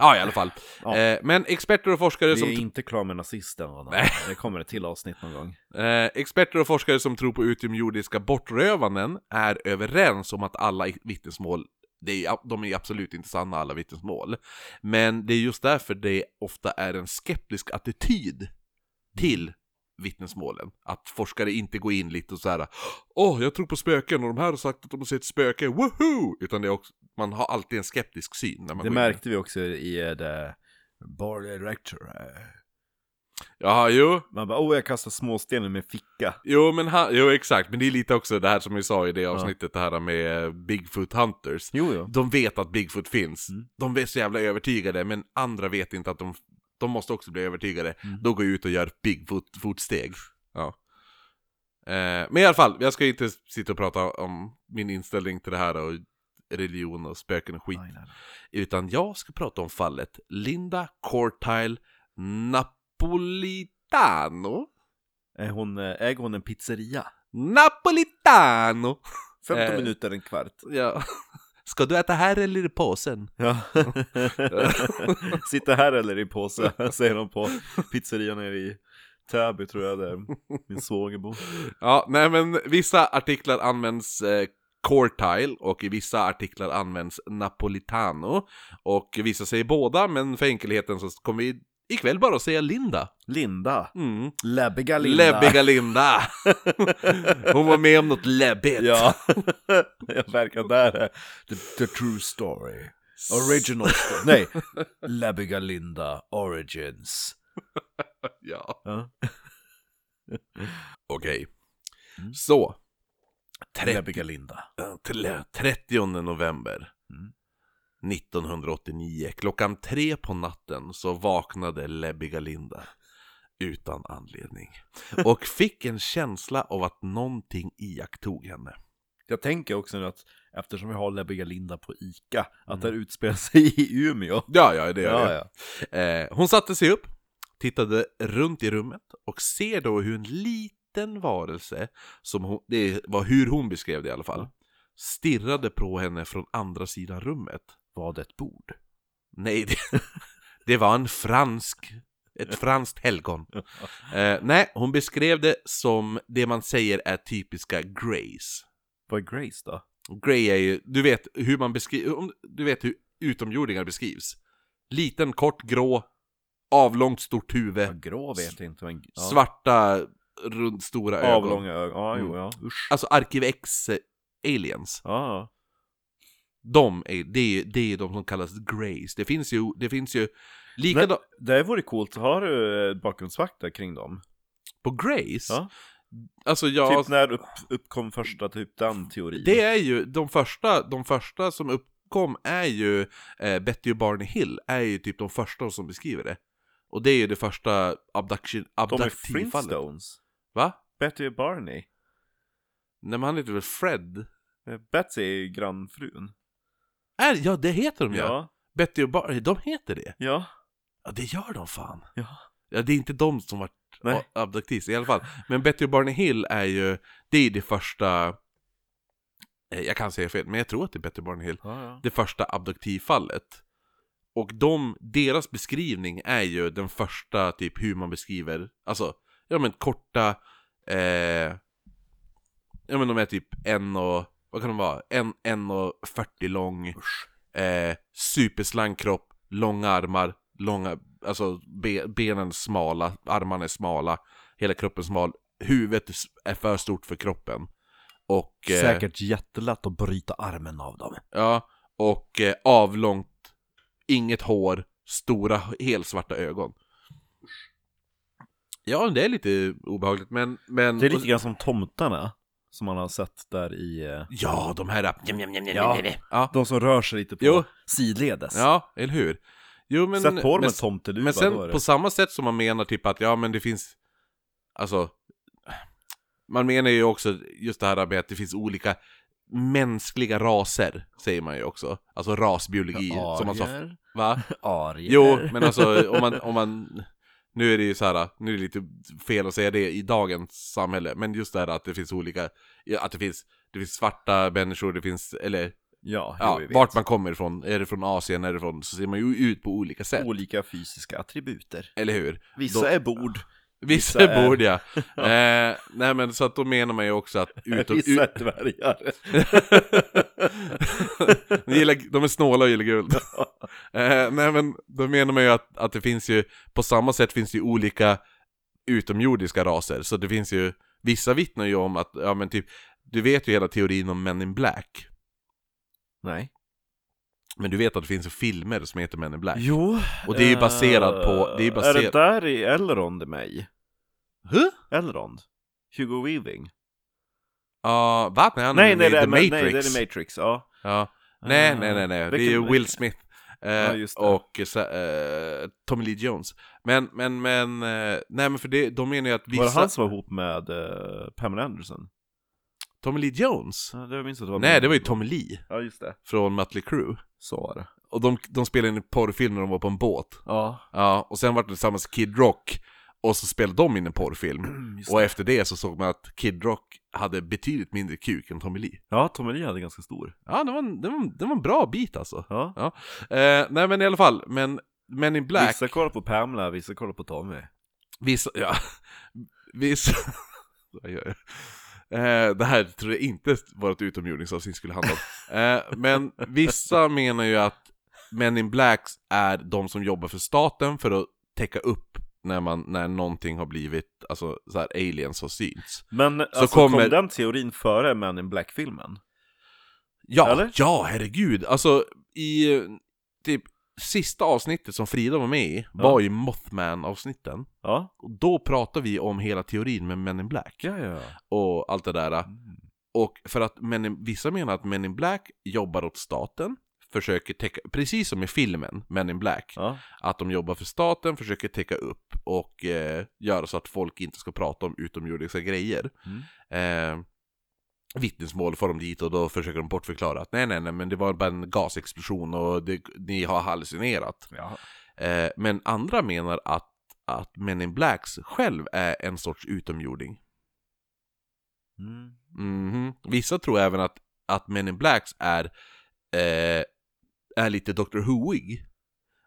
Ja, i alla fall. Ja. Eh, men experter och forskare Vi som... är inte klara med nazisten. va? Nej. Det kommer ett till avsnitt någon gång. Eh, experter och forskare som tror på utomjordiska bortrövanden är överens om att alla i- vittnesmål, det är, ab- de är absolut inte sanna alla vittnesmål. Men det är just därför det ofta är en skeptisk attityd till vittnesmålen. Att forskare inte går in lite och så här, åh, jag tror på spöken och de här har sagt att de har sett spöken, woohoo! Utan det är också, man har alltid en skeptisk syn när man Det går in. märkte vi också i eh, The Bar Director. eh. Ja, jo, Man bara, åh jag kastar småstenen med ficka. jo, men han, jo, exakt, men det är lite också det här som vi sa i det avsnittet, det här med eh, Bigfoot Hunters. Jo, jo. De vet att Bigfoot finns. Mm. De är så jävla övertygade, men andra vet inte att de... De måste också bli övertygade. Mm. Då går jag ut och gör Bigfoot-fotsteg. Ja. Eh, men i alla fall, jag ska inte sitta och prata om min inställning till det här och religion och spöken och skit. Nej, nej, nej. Utan jag ska prata om fallet Linda Cortile Napolitano. Är hon, eh, äger hon en pizzeria? Napolitano! 15 Eh. minuter, en kvart. Ja. [LAUGHS] Ska du äta här eller i påsen? [LAUGHS] Ja. Sitta här eller i påse, [LAUGHS] säger de på pizzerian nere i Täby tror jag det är. Min svåger bor. Ja, nej men vissa artiklar används eh, Cortile och i vissa artiklar används Napolitano. Och vissa säger båda, men för enkelheten så kommer vi ikväll bara att säga Linda. Linda. Mm. Läbbiga Linda. [LAUGHS] Läbbiga Linda! Hon var med om något läbbigt. [LAUGHS] Ja, [LAUGHS] jag verkar där. är The, the true story. Original story. Nej, Läbbiga Linda Origins. Ja. Ja. [LAUGHS] Okej. Mm. Så. 30, Läbbiga Linda. till- 30 november. Mm. 1989, klockan tre på natten så vaknade läbbiga Linda utan anledning och fick en känsla av att någonting iakttog henne. Jag tänker också nu att eftersom vi har Läbbiga Linda på ICA, att det här utspelar sig i Umeå. Ja, ja, det gör Mm. Ja, det. ja. Eh, hon satte sig upp, tittade runt i rummet och ser då hur en liten varelse, som hon, det var hur hon beskrev det i alla fall, stirrade på henne från andra sidan rummet. Var det ett bord? Nej, det, [LAUGHS] det var en fransk, ett franskt helgon. Eh, nej, hon beskrev det som det man säger är typiska greys. Vad är Grace då? Grey är ju, du vet hur man beskriver, du vet hur utomjordingar beskrivs. Liten, kort, grå, avlångt, stort Ja, huvud, grå vet jag inte, men ja. svarta, rund, stora ögon. avlånga ögon. Ja, jo, Mm. ja. Usch. Alltså Arkiv X-aliens. Ja, De är, det är, det är de som kallas greys. Det finns ju, det finns ju, likadant, ja. det vore coolt. Har du eh, bakgrundsfakta kring dem? på greys. Ja. Alltså jag... Typ när upp, uppkom första typ den teorin? Det är ju, de första, de första som uppkom är ju eh, Betty och Barney Hill, är ju typ de första som beskriver det. Och det är ju det första abduction, De är abduktivfallet. Flintstones. Va? Betty och Barney. Nej men han heter väl Fred? Eh, Betsy är ju grannfrun. Är, ja det heter de ja. Ja. Betty och Barney, de heter det. Ja. Ja det gör de fan. Ja. Ja det är inte de som vart Nej. a- abductees i alla fall. Men Betty och Barney Hill är ju, det är det första, eh, jag kan säga fel, men jag tror att det är Betty och Barney Hill. ja, ja. det första abduktivfallet. Och de, deras beskrivning är ju den första typ hur man beskriver, alltså, ja men korta, eh, ja men de är typ en och, vad kan de vara, en, en och 40 lång, Usch. eh, superslank kropp, långa armar, långa, alltså be, benen smala, armarna är smala, hela kroppen smal, huvudet är för stort för kroppen. Och, eh, Säkert jättelätt att bryta armen av dem. Ja, och eh, avlångt, inget hår, stora helsvarta ögon. Ja, men det är lite obehagligt men... men Det är lite grann som tomtarna som man har sett där i... eh, Ja, de här... Ja, Ja, de som rör sig lite på Jo. sidledes. ja eller hur? Jo, men... Sätt på dem men, en tomteluva, men då är sen det. på samma sätt som man menar typ att ja, men det finns... Alltså... Man menar ju också just det här med att det finns olika mänskliga raser, säger man ju också. Alltså rasbiologi, som man sa... Arier. Va? Arier. Jo, men alltså om man, om man... Nu är det ju så här, nu är det lite fel att säga det i dagens samhälle, men just det här att det finns olika, att det finns, det finns svarta människor, det finns, eller Ja, ja, jo, vi vart vet. man kommer ifrån, är det från Asien, är det från, så ser man ju ut på olika sätt, Olika fysiska attributer. eller hur? Vissa Då- är bord, Vissa Vissa är- är bord [LAUGHS] ja. eh, nej men så att då menar man ju också att utom, vissa [LAUGHS] är dvärgar. de, gillar, de är snåla och gillar [LAUGHS] guld. eh, nej men då menar man ju att, att det finns ju, på samma sätt finns det ju olika utomjordiska raser. Så det finns ju, vissa vittnar ju om att, ja men typ, du vet ju hela teorin om Men in Black. Nej. Men du vet att det finns ju filmer som heter Men in Black. Jo. Och det är ju eh, baserat på- det är baserat- Är det där i Elrond mig? Huh? Elrond? Hugo Weaving? Ja, va? Nej, han Nej, är med nej, i det, The är- men, Matrix. nej, det är The Matrix, ja. ja. Nej, Ah. nej, nej, nej. Det är Vilken- ju Will Smith. Eh, Ja, just det. och eh, Tommy Lee Jones. Men, men, men, eh, nej men för det, de menar ju att vissa... Var det han som var ihop med eh, Pamela Anderson? Tommy Lee Jones? Ja, det jag minns att det var Nej, det var ju Tommy Lee Ja, just det. från Mötley Crüe. Så var det. Och de, de spelade in en porrfilm när de var på en båt. Ja. Ja, och sen var det tillsammans med Kid Rock. Och så spelade de in en porrfilm. Mm, Just Och efter det så såg man att Kid Rock hade betydligt mindre kuk än Tommy Lee. Ja, Tommy Lee hade ganska stor. Ja, det var en, det var en, det var en bra bit alltså. Ja. Eh, nej men i alla fall, men Men in Black. Vissa kollar på Pamela, vissa kollar på Tommy. Vissa, ja, vissa... Vad gör [LAUGHS] jag? Eh, det här tror jag inte vårt utomjordingsavsnitt skulle handla om. Eh, men vissa menar ju att Men in Blacks är de som jobbar för staten för att täcka upp när, man, när någonting har blivit, alltså så här aliens har synts. Men alltså, kommer- kom den teorin före Men in Black-filmen? Ja, Eller? ja herregud. Alltså i eh, typ sista avsnittet som Frida var med i var ju Mothman-avsnitten. Ja. Och då pratar vi om hela teorin med Men in Black. Ja, ja. och allt det där. Mm. Och för att men in, vissa menar att Men in Black jobbar åt staten, försöker täcka, precis som i filmen Men in Black, ja. att de jobbar för staten, försöker täcka upp och eh, göra så att folk inte ska prata om utomjordiska grejer. Mm. Eh, vittnesmål får de dit och då försöker de bortförklara att nej, nej, nej, men det var bara en gasexplosion och det, ni har hallucinerat. ja. Eh, men andra menar att, att Men in Blacks själv är en sorts utomjording. Mm. Mhm. Vissa tror även att, att Men in Blacks är, eh, är lite Dr. Whoig.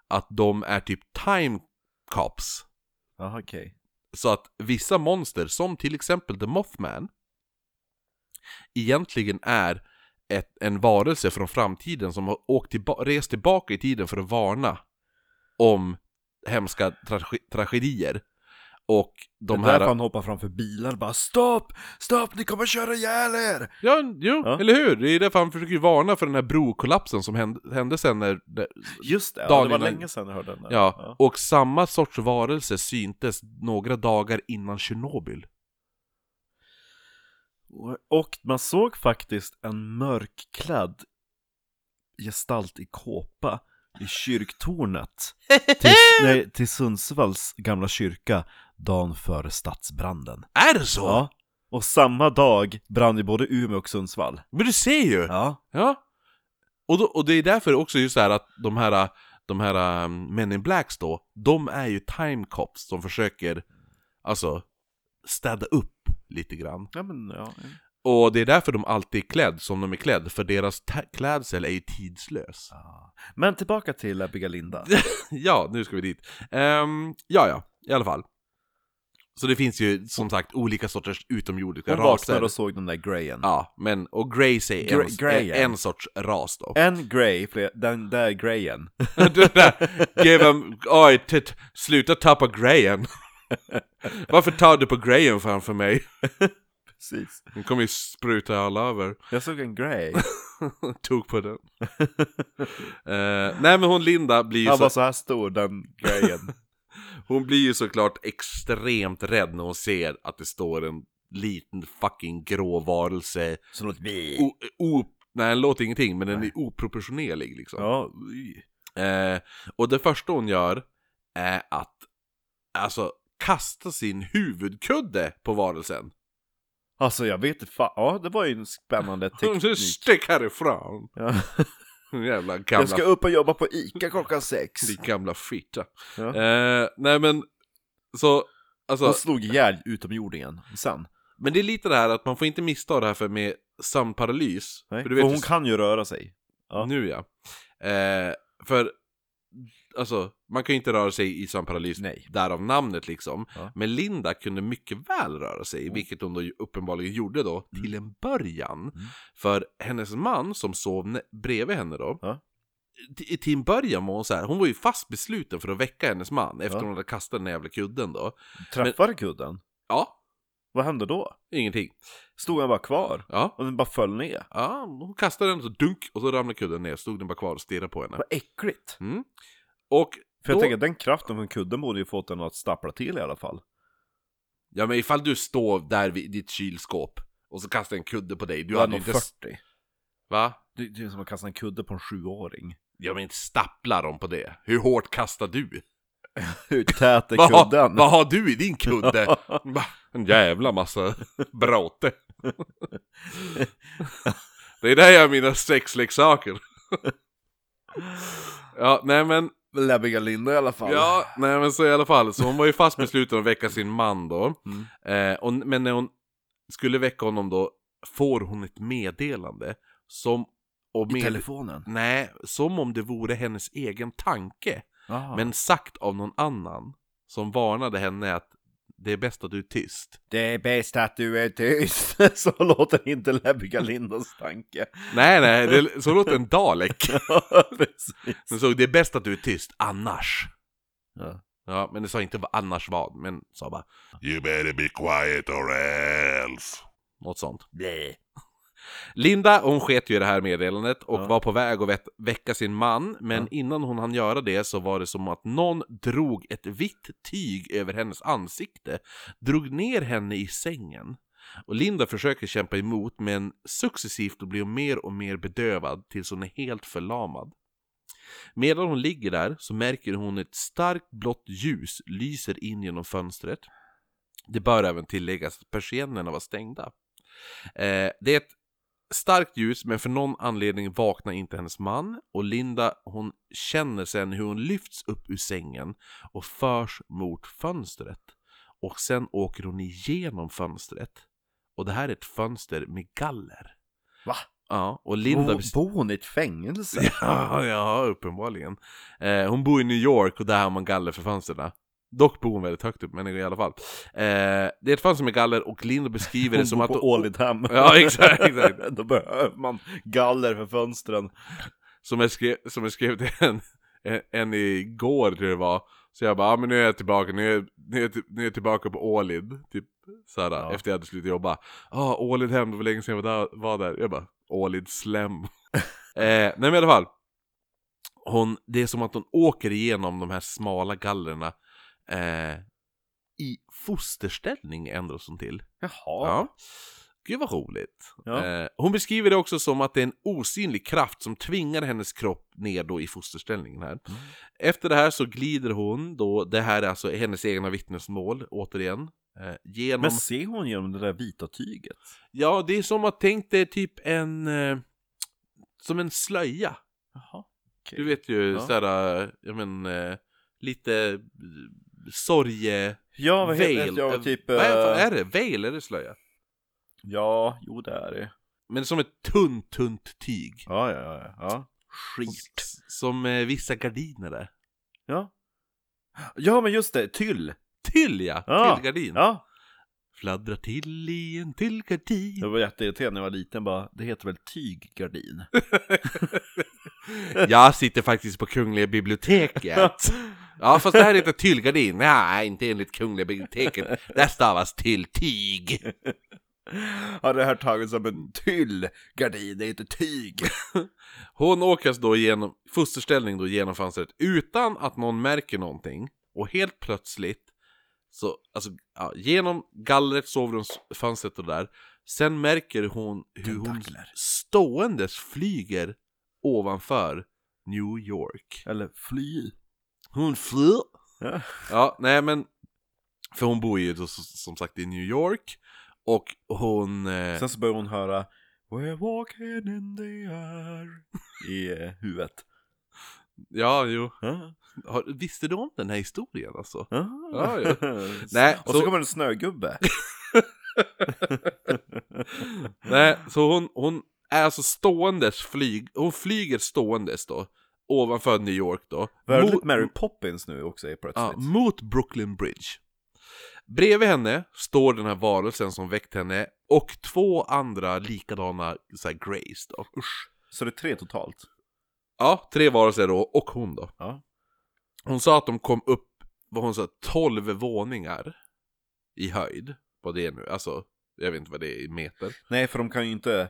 Att de är typ time cops. Jaha, okej. Så att vissa monster, som till exempel The Mothman, egentligen är ett, en varelse från framtiden som har åkt tillba- rest tillbaka i tiden för att varna om hemska trage- tragedier. Och de det är här... därför han hoppar framför bilar bara Stopp! Stopp! Ni kommer köra ihjäl er! Ja, jo, Ja. eller hur? Det är därför han försöker ju varna för den här brokollapsen som hände, hände sen när... när Just det, ja, Dagen det var innan- länge sedan jag hörde den där. ja. och samma sorts varelse syntes några dagar innan [LAUGHS] Tjernobyl. Och man såg faktiskt en mörkklädd gestalt i kåpa i kyrktornet Typ, till, nej, till Sundsvalls gamla kyrka dagen före stadsbranden. Är det så? Ja. Och samma dag brann ju både Umeå och Sundsvall. Men du ser ju! Ja. Ja. Och, då, och det är därför också just så här att de här, de här um, Men in Blacks då, de är ju time cops som försöker, alltså, städa upp lite grann. Ja men ja. Och det är därför de alltid är klädd som de är klädd, för deras ta- klädsel är ju tidslös. Ah. Men tillbaka [LAUGHS] till Abigalinda. ja, nu ska vi dit. Ehm, ja, ja, i alla fall. Så det finns ju som sagt olika sorters utomjordiska Hon raser. vaknade och såg den där grejen. Ja, men och Grace är Gra- en, grejen. en sorts ras då. [LAUGHS] En grey, fler- den där grejen. Det där, Give him, oj, tit, sluta tappa grejen. [LAUGHS] Varför tar du på grejen framför mig? Precis. Den kommer ju spruta alla över. [LAUGHS] Jag såg en grey. Tog på den. [LAUGHS] Eh, nej men hon Linda blir ju Han så... [LAUGHS] var så här stor, den grejen. Hon blir ju såklart extremt rädd när hon ser att det står en liten fucking grå varelse. Så låter det... O, o, nej, den låter ingenting, men den är oproportionerlig liksom. Ja, Eh, och det första hon gör är att alltså kasta sin huvudkudde på varelsen. alltså jag vet inte fan. Ja, det var ju [LAUGHS] en spännande Hon teknik. stick härifrån! [LAUGHS] Ja. Jävla gamla, Jag ska upp och jobba på ICA klockan sex. din gamla fitta. Ja. Eh, nej men, så, alltså, Hon slog ihjäl utomjordingen sen. men det är lite det här att man får inte missta det här för med sömnparalys. För Nej. För du vet hon ju- kan ju röra sig. Ja. Nu ja. Eh, för, alltså, man kan ju inte röra sig i sömnparalys, Nej. därav namnet liksom. Ja. Men Linda kunde mycket väl röra sig, vilket hon då ju uppenbarligen gjorde då, Mm. till en början. För hennes man som sov nä- bredvid henne då, Ja. t- till en början var hon så här, hon var ju fast besluten för att väcka hennes man efter Ja. hon hade kastat den där jävla kudden då. Träffade kudden? Ja, Vad hände då? ingenting. Stod den bara kvar? Ja. Och den bara föll ner? Ja, hon kastade den så dunk och så ramlade kudden ner, stod den bara kvar och stirrade på henne. Vad äckligt! Mm. Och För jag Då- tänker den kraften från kudden borde ju fått den att stappla till i alla fall. Ja men ifall du står där vid ditt kylskåp och så kastar en kudde på dig, du Du hade hade ju nog inte... 40. Va? Det, det är som att kasta en kudde på en sjuåring. Ja men inte stapplar de på det. Hur hårt kastar du? [LAUGHS] Hur [LAUGHS] tät är Vad har, kudden? vad har du i din kudde? Va? en jävla massa bråte. det är där jag har mina sexleksaker. ja, nej men... [LAUGHS] Läbbiga Linda i alla fall. Ja, nej men så i alla fall. Så hon var ju fast besluten att väcka sin man då. Mm. Eh, och, men när hon skulle väcka honom då får hon ett meddelande som... Och I med- telefonen. Nej, som om det vore hennes egen tanke. Ah. Men sagt av någon annan. Som varnade henne att det är bäst att du är tyst. det är bäst att du är tyst. [LAUGHS] Så låter inte läbbiga Lindas tanke. [LAUGHS] Nej, nej, det, så låter en dalek. Ja, precis. Den såg det är bäst att du är tyst, annars. Ja. Ja, men det sa inte vad- annars vad, men sa bara You better be quiet or else. något sånt. Linda, hon sket ju i det här meddelandet och Ja. var på väg att vä- väcka sin man, men innan hon hann göra det så var det som att någon drog ett vitt tyg över hennes ansikte, drog ner henne i sängen. Och Linda försöker kämpa emot, men successivt blir hon mer och mer bedövad tills hon är helt förlamad. Medan hon ligger där så märker hon ett starkt blått ljus lyser in genom fönstret. Det bör även tilläggas att persiennerna var stängda. Eh, det är ett starkt ljus, men för någon anledning vaknar inte hennes man och Linda hon känner sen hur hon lyfts upp ur sängen och förs mot fönstret. Och sen åker hon igenom fönstret. Och det här är ett fönster med galler. Va? Ja, och Linda... Bo, bes- bor hon i ett fängelse? [LAUGHS] Ja, [LAUGHS] ja uppenbarligen. Eh, hon bor i New York och där har man galler för fönstren. Dock bor hon väldigt högt upp, men i alla fall. Eh, det är ett fönster med galler och Linda beskriver det Hon som bor att... på Ålidhem. Ja, exakt, exakt. [LAUGHS] Då behöver man galler för fönstren. Som jag skrev, som jag skrev till en, en, en igår tror jag det var. Så jag bara, ah, men nu är jag tillbaka, nu är, jag- nu är, jag till- nu är jag tillbaka på Ålid. Typ såhär, Ja. efter jag hade slutat jobba. ah, Ålid hem, det var länge sedan jag var där. Var där. Jag bara, Ålid slem. eh, nej men i alla fall. Hon, det är som att hon åker igenom de här smala gallerna. Eh, I fosterställning ändras hon till. Jaha. Ja. Gud vad roligt. Ja. Eh, hon beskriver det också som att det är en osynlig kraft som tvingar hennes kropp ner då i fosterställningen här. Mm. Efter det här så glider hon då, det här är alltså hennes egna vittnesmål återigen. Eh, genom... Men ser hon genom det där vita tyget? Ja, det är som att tänk dig typ en... Eh, som en slöja. Jaha. okej. Du vet ju Ja. sådär, eh, ja men eh, lite eh, sorge... Ja, vad heter veil. det? Ja, Eh, typ... vad är, vad eh, är det? Veil? Är det slöja? Ja, jo det är det. Men som ett tunt, tunt tyg. Ja, ja, ja. ja. Skit. S- Som eh, vissa gardiner där. Ja. Ja, men just det. Tyll. Till ja! Ja. Tillgardin. Ja. Fladdra till i en till Jag gardin. var jätteirriterad när jag var liten bara, det heter väl tyggardin? [LAUGHS] Jag sitter faktiskt på Kungliga [LAUGHS] biblioteket. [LAUGHS] Ja, fast det här heter tyllgardin. Nej, inte enligt Kungliga biblioteket. Där stavas till tyg. Har det här tagit som en tyllgardin, det [LAUGHS] heter tyg. Hon åkas då genom fosterställning då genom fönstret utan att någon märker någonting. Och helt plötsligt, så, alltså, ja, genom gallret, sovrumsfönstret och där, sen märker hon hur hon Tentakler. ståendes flyger ovanför New York. Eller fly. Hon flyr. Ja. Ja, nej men, för hon bor ju då, s- som sagt i New York. Och hon... Eh, Sen så börjar hon höra We're walking in the air i eh, huvudet. Ja, jo. Ja. Har, visste du om den här historien alltså? Ja. Ja, [LAUGHS] ja. S- Nej, Ah. och så, så- kommer [LAUGHS] en snögubbe. Nej, så hon, hon är alltså ståendes flyg... Hon flyger ståendes då. Ovanför New York då. Väldigt Mot- Mary Poppins nu också är plötsligt. Ja, mot Brooklyn Bridge. Bredvid henne står den här varelsen som väckt henne och två andra likadana så här, Grays då. Usch. Så det är tre totalt. Ja, tre varelser då och hon då. Ja. Hon sa att de kom upp, vad hon sa, 12 våningar i höjd. Vad det är nu, alltså jag vet inte vad det är i meter. Nej, för de kan ju inte...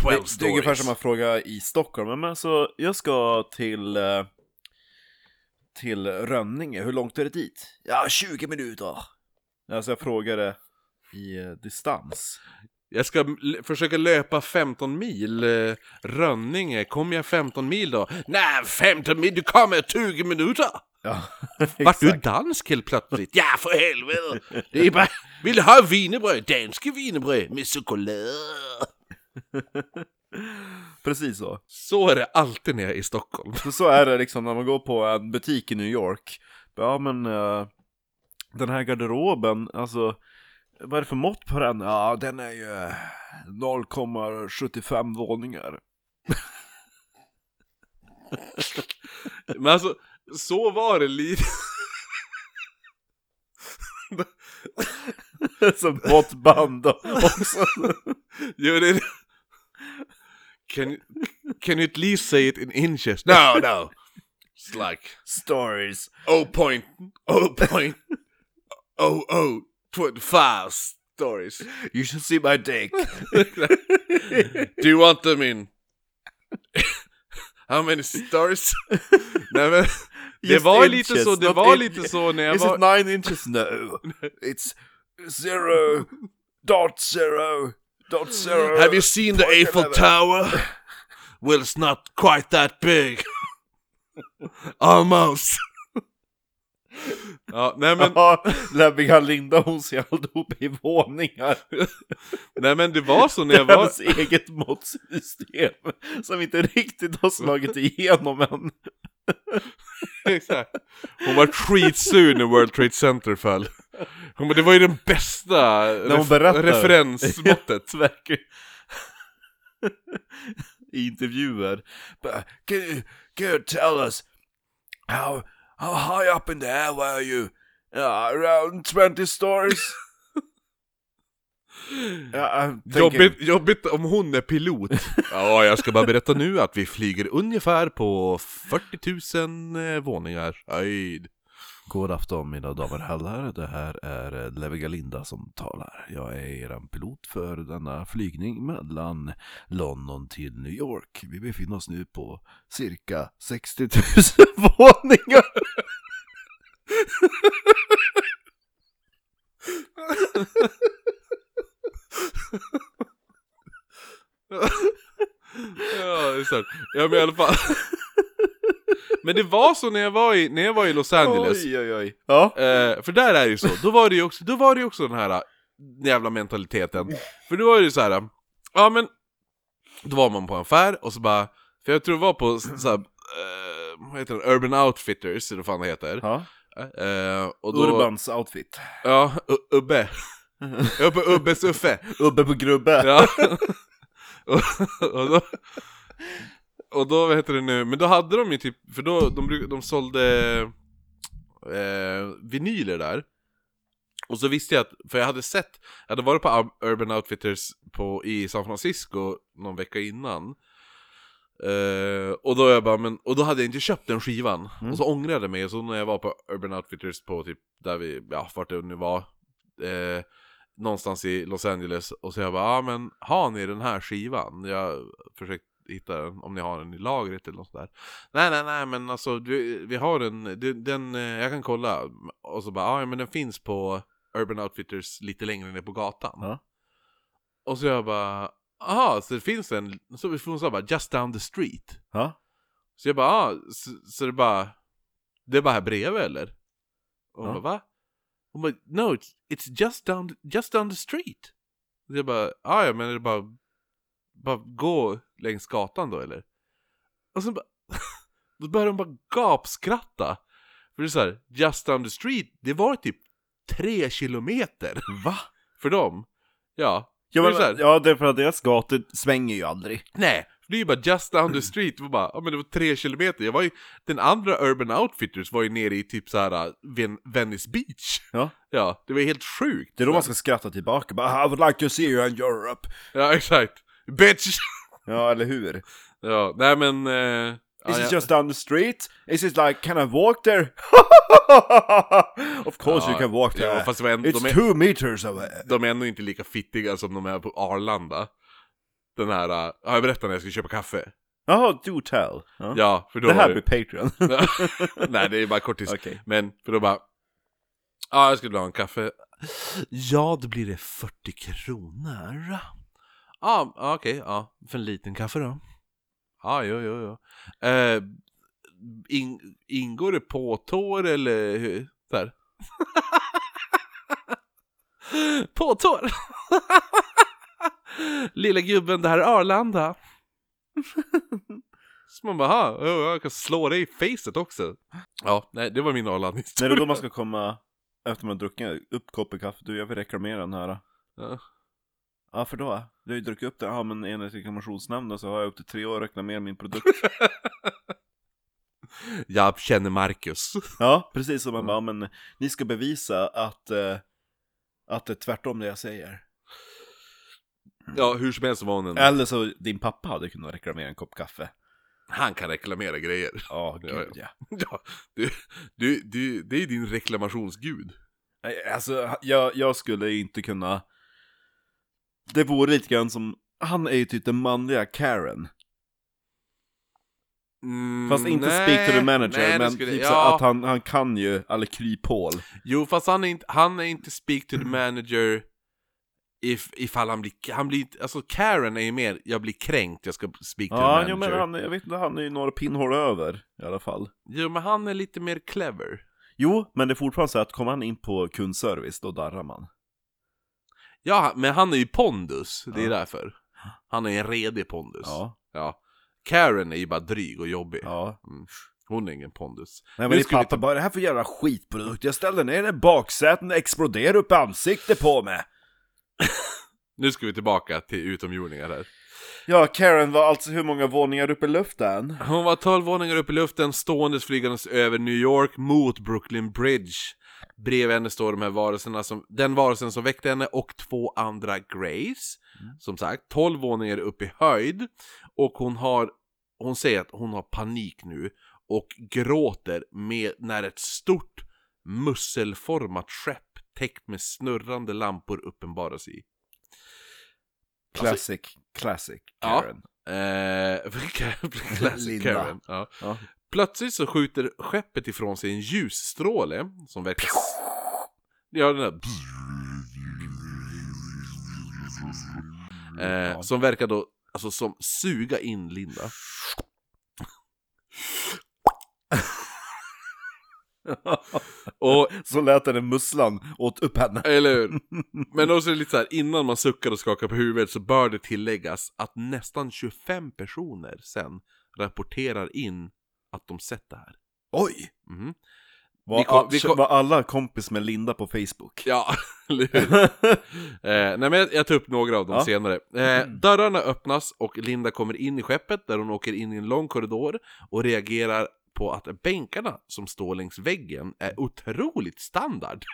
12 det, det är ungefär som att fråga i Stockholm, men alltså jag ska till... eh, Till Rönninge, hur långt är det dit? Ja, 20 minuter. Alltså jag frågade i eh, distans. Jag ska l- försöka löpa 15 mil, eh, Rönninge, kommer jag 15 mil då? Nej, 15 mil, du kommer 20 minuter! Ja, [LAUGHS] Vart du exakt. dansk helt plötsligt? ja, för helvete! Det är bara, vill du ha wienerbröd? Danske wienerbröd med choklad! [LAUGHS] Precis så. Så är det alltid när jag är i Stockholm. [LAUGHS] Så, så är det liksom när man går på en butik i New York. Ja men eh, den här garderoben, alltså vad är det för mått på den? Ja den är ju eh, 0,75 våningar. [LAUGHS] Men alltså, så var det lite. Som måttband också. [LAUGHS] Jo, det... Can, you- can you at least say it in inches? No, no! It's like Stories. 0.0.025 oh, stories. You should see my dick. Do you want them in? [LAUGHS] How many [LAUGHS] stories? Nej men, det Just var lite inches, så, det not var in- lite så när jag Is it var... nine inches? No. It's zero dot zero dot zero. Have you seen the Eiffel eleven. Tower? Well, it's not quite that [LAUGHS] big. Almost. ja, nej men, [LAUGHS] Ja, lämmiga Linda hon ser alltihop i våningar. nej men det var så när jag [LAUGHS] [LAUGHS] Det är var... Hennes eget måttsystem som inte riktigt har slagit igenom än. [LAUGHS] Exakt. Hon var skitsur när World Trade Center föll. Hon bara, det var ju den bästa hon ref- berättar. [LAUGHS] referensmåttet. Verkar I intervjuer. But Can you, can you tell us how, how high up in the air were you? Yeah, around [LAUGHS] 20 stories? yeah, I'm thinking, Jobbigt, jobbigt om hon är pilot. Ja, jag ska bara berätta nu att vi flyger ungefär på 40 000 eh, våningar. Öjd. God afton mina damer och herrar, det här är eh, Leviga Linda som talar. Jag är er pilot för denna flygning mellan London till New York. Vi befinner oss nu på cirka 60 000 våningar. Ja, det är sant. Ja, men i alla fall. [LAUGHS] Men det var så när jag var i, när jag var i Los Angeles. Oj, oj, oj. Ja. Eh, för där är det ju så, då var det ju också, då var det ju också den här eh, jävla mentaliteten. För då var det ju så här. eh, ja men, då var man på en affär och så bara, för jag tror det var på så här, eh, vad heter det, Urban Outfitters, eller vad fan det heter. ja. Eh, och då, Urbans outfit. Ja, U- Ubbe. Jag var på Ubbes Uffe. Ubbe på grubbe. Ja. [LAUGHS] och, och då... Och då, vad heter det nu, men då hade de ju typ, för då, de, bruk- de sålde eh, vinyler där Och så visste jag att, för jag hade sett, jag hade varit på Ur- Urban Outfitters på, i San Francisco någon vecka innan Eh, och då jag bara, men, och då hade jag inte köpt den skivan Mm. Och så ångrade jag mig, och så när jag var på Urban Outfitters på typ, där vi, ja vart det nu var eh, Någonstans i Los Angeles, och så jag bara, ja ah, men har ni den här skivan? Jag försökte hitta den om ni har den i lagret eller något sådär. Nej, nej, nej, men alltså du, vi har den, du, den, eh, jag kan kolla. Och så bara, ah, ja men den finns på Urban Outfitters lite längre ner på gatan. Ja. Och så jag bara, aha, så det finns en, så hon sa bara, just down the street. Ja, Så jag bara, ah, så, så det bara, det är bara här bredvid eller? Och hon Ja. bara, va? Hon bara, no, it's, it's just, down, just down the street. Så jag bara, ah, ja men är det bara, bara gå längs gatan då eller? Och sen bara, [LAUGHS] då började hon bara gapskratta. För det är så här, just down the street, det var typ tre kilometer [LAUGHS] va? för dem. Ja, Ja, Det är men, så här. ja, det är för att deras gator svänger ju aldrig. Nej, det är ju bara just down the street. Det var bara, ja men det var tre kilometer. Jag var ju, den andra Urban Outfitters var ju nere i typ så här uh, Ven- Venice Beach. Ja. Ja, det var helt sjukt. Det är då man ska skratta tillbaka. Bara, I would like to see you in Europe. Ja, exakt. Bitch! Ja, eller hur? Ja, nej men... eh, Is ja, it ja. just down the street? Is it like, can I walk there? [LAUGHS] of course Ja, you can walk there. Ja, fast det var en, It's de, är, two meters away. de är ändå inte lika fittiga som de är på Arlanda. Den här, uh, ja jag berättade när jag skulle köpa kaffe. Jaha, do tell. Ja. Ja, för då det var här det- blir [LAUGHS] Patreon. Nej, det är bara kortis. [LAUGHS] Okej. Men, för då bara... Ja, jag skulle vilja ha en kaffe. Ja, då blir det 40 kronor. Ja, ah, okej. ja, för en liten kaffe då. Ja, ah, jo, jo, jo. Eh, in, ingår det påtår eller hur? Där. [LAUGHS] påtår! [LAUGHS] Lilla gubben, det här är [LAUGHS] Arlanda. Så man bara, "Ha, jo, jag kan slå dig i facet också. Ja, nej, det var min När det är då Arlanda-historia. man ska komma, efter man har druckit upp koppen kaffe, du jag vill reklamera den här. Ja. Ja, för då? Du har ju druckit upp den, ja men enligt reklamationsnämnden så har jag upp till tre år reklamerat min produkt. [LAUGHS] Jag känner Marcus. Ja, precis som man bara, ja, men ni ska bevisa att, eh, att det är tvärtom det jag säger. Ja, hur som helst var hon en... Eller så, din pappa hade kunnat reklamera en kopp kaffe. Han kan reklamera grejer. [LAUGHS] Ja, Ja, gud ja. Ja, du, du, du, det är din reklamationsgud. Nej, Alltså, jag, jag skulle inte kunna... Det vore lite grann som... Han är ju typ den manliga Karen. Mm, Fast inte nej, speak to the manager, nej, det men skulle- typ så ja, att han, han kan ju, eller kryphål. Jo, fast han är inte, han är inte speak to the manager if, ifall han blir, han blir inte, alltså Karen är ju mer, jag blir kränkt, jag ska speak to Ja, the jo, manager. men han, jag vet inte, han är ju några pinnhål över i alla fall. jo, men han är lite mer clever. Jo, men det är fortfarande så att kommer han in på kundservice, då darrar man. Ja, men han är ju pondus, det är Ja. därför. Han är en redig pondus. Ja, Ja. Karen är ju bara dryg och jobbig. ja. Mm. Hon är ingen pondus. Nej Nu men din ska vi pappa bara, det här för jävla skitprodukt, jag ställde ner den i baksätet, exploderar upp i ansiktet på mig. Nu ska vi tillbaka till utomjordingar här. Ja, Karen var alltså hur många våningar upp i luften? Hon var 12 våningar upp i luften, ståendes flygandes över New York mot Brooklyn Bridge. Bredvid henne står de här varelserna som, den varelsen som väckte henne och två andra Grays. Som sagt, 12 våningar upp i höjd. Och hon har, hon säger att hon har panik nu och gråter med, när ett stort musselformat skepp täckt med snurrande lampor uppenbarar sig. Classic, classic Ja. Karen. Eh, [LAUGHS] Classic Linda. Karen. Ja. Ja. Plötsligt så skjuter skeppet ifrån sig en ljusstråle som verkar... Ja, den där... Eh, som verkar då, alltså som suga in Linda. [LAUGHS] Och Så lät den musslan åt upp henne. Eller hur? Men också lite så här, innan man suckar och skakar på huvudet så bör det tilläggas att nästan 25 personer sen rapporterar in att de sett det här. Oj! Mhm. Var, Vi kom- vi kom- var alla kompis med Linda på Facebook? Ja, [LAUGHS] eller hur? [LAUGHS] Eh, nej men jag, jag tar upp några av dem Ja. Mm. senare. Eh, dörrarna öppnas och Linda kommer in i skeppet där hon åker in i en lång korridor och reagerar på att bänkarna som står längs väggen är otroligt standard.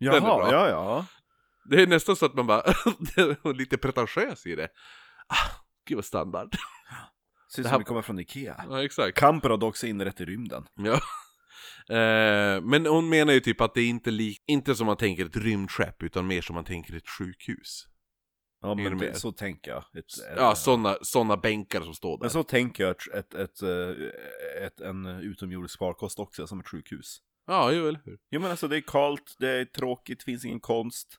är bra. Jaha, ja ja. Det är nästan så att man bara, [LAUGHS] lite pretentiös i det. Ah, gud vad [LAUGHS] standard. Ser Det ut här- som vi kommer från Ikea. Ja, exakt. Kamper hade också inrett i rymden. Ja. Eh, men hon menar ju typ att det är inte, li- inte som man tänker ett rymdskepp, utan mer som man tänker ett sjukhus. Ja, Hänger men du det, med? så tänker jag. Ett- Ja, ett- sådana såna bänkar som står där. Men så tänker jag ett, ett, ett, eh, ett, en utomjordisk farkost också, som ett sjukhus. Ja, ju eller hur? Jo men alltså det är kallt, det är tråkigt, finns ingen konst,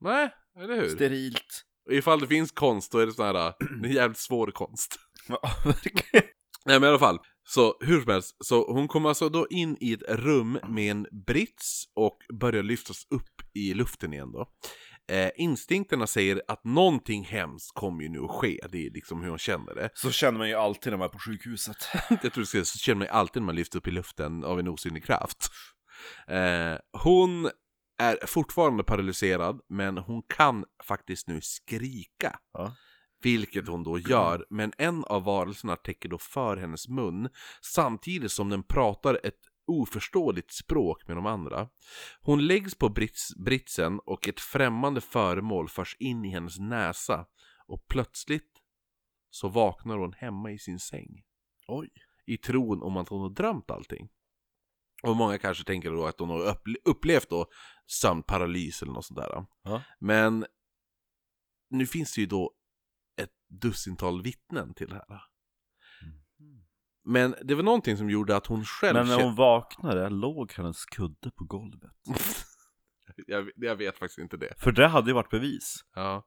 Nej, eller hur? sterilt. [LAUGHS] Ifall det finns konst, då är det sån här, äh, det är jävligt svår konst. [CLEARS THROAT] Ja, verkligen. Nej men i alla fall, så hur som helst, så hon kommer alltså då in i ett rum med en brits och börjar lyftas upp i luften igen då. Eh, instinkterna säger att någonting hemskt kommer ju nu att ske, det är liksom hur hon känner det. Så känner man ju alltid när man är på sjukhuset. [LAUGHS] Jag tror du skulle säga, så känner man ju alltid när man lyfts upp i luften av en osynlig kraft. Eh, hon är fortfarande paralyserad, men hon kan faktiskt nu skrika. Ja. Vilket hon då gör, men en av varelserna täcker då för hennes mun samtidigt som den pratar ett oförståeligt språk med de andra. Hon läggs på brits, britsen och ett främmande föremål förs in i hennes näsa och plötsligt så vaknar hon hemma i sin säng. Oj. I tron om att hon har drömt allting. Och många kanske tänker då att hon har upple- upplevt då sömnparalys eller något sånt där. Ja. Men nu finns det ju då ett dussintal vittnen till det här. Men det var någonting som gjorde att hon själv Mm. Men när kände- hon vaknade låg hennes kudde på golvet. jag, jag vet faktiskt inte det. För det hade ju varit bevis. Ja.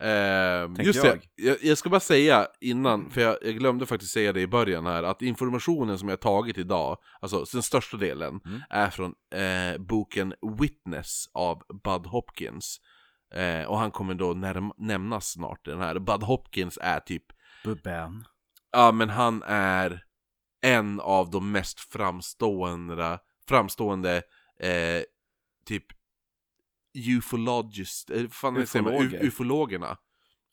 Ehm, Tänker just det, jag, jag ska bara säga innan, för jag, jag glömde faktiskt säga det i början här, att informationen som jag tagit idag, alltså den största delen, Mm. är från eh, boken Witness av Bud Hopkins. Eh, och han kommer då närm- nämnas snart i den här. Bud Hopkins är typ Bubben. Ja, men han är en av de mest framstående, framstående eh, typ ufologist, eh, fan vad säger man, Ufologer. U- ufologerna.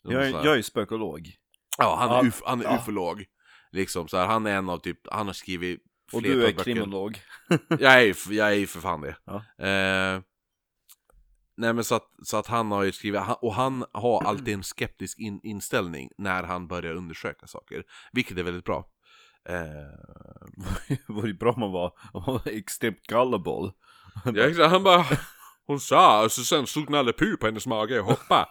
Jag, är- jag är ju spökolog. ja, han är, Ja, uf- han är ja. ufolog. Liksom så här, han är en av typ, han har skrivit Och flertal du är böcker. kriminolog. [LAUGHS] Jag är ju f- jag är ju för fan det. Ja. Eh, nej men så att, så att han har ju skrivit, han- och han har alltid en skeptisk in, inställning när han börjar undersöka saker. Vilket är väldigt bra. Eh, Det vore ju bra om man var, om man var extremt gullible. Ja, exakt. han bara... Hon sa och så sen slog Nalle Puh på hennes mage och [LAUGHS] hoppade.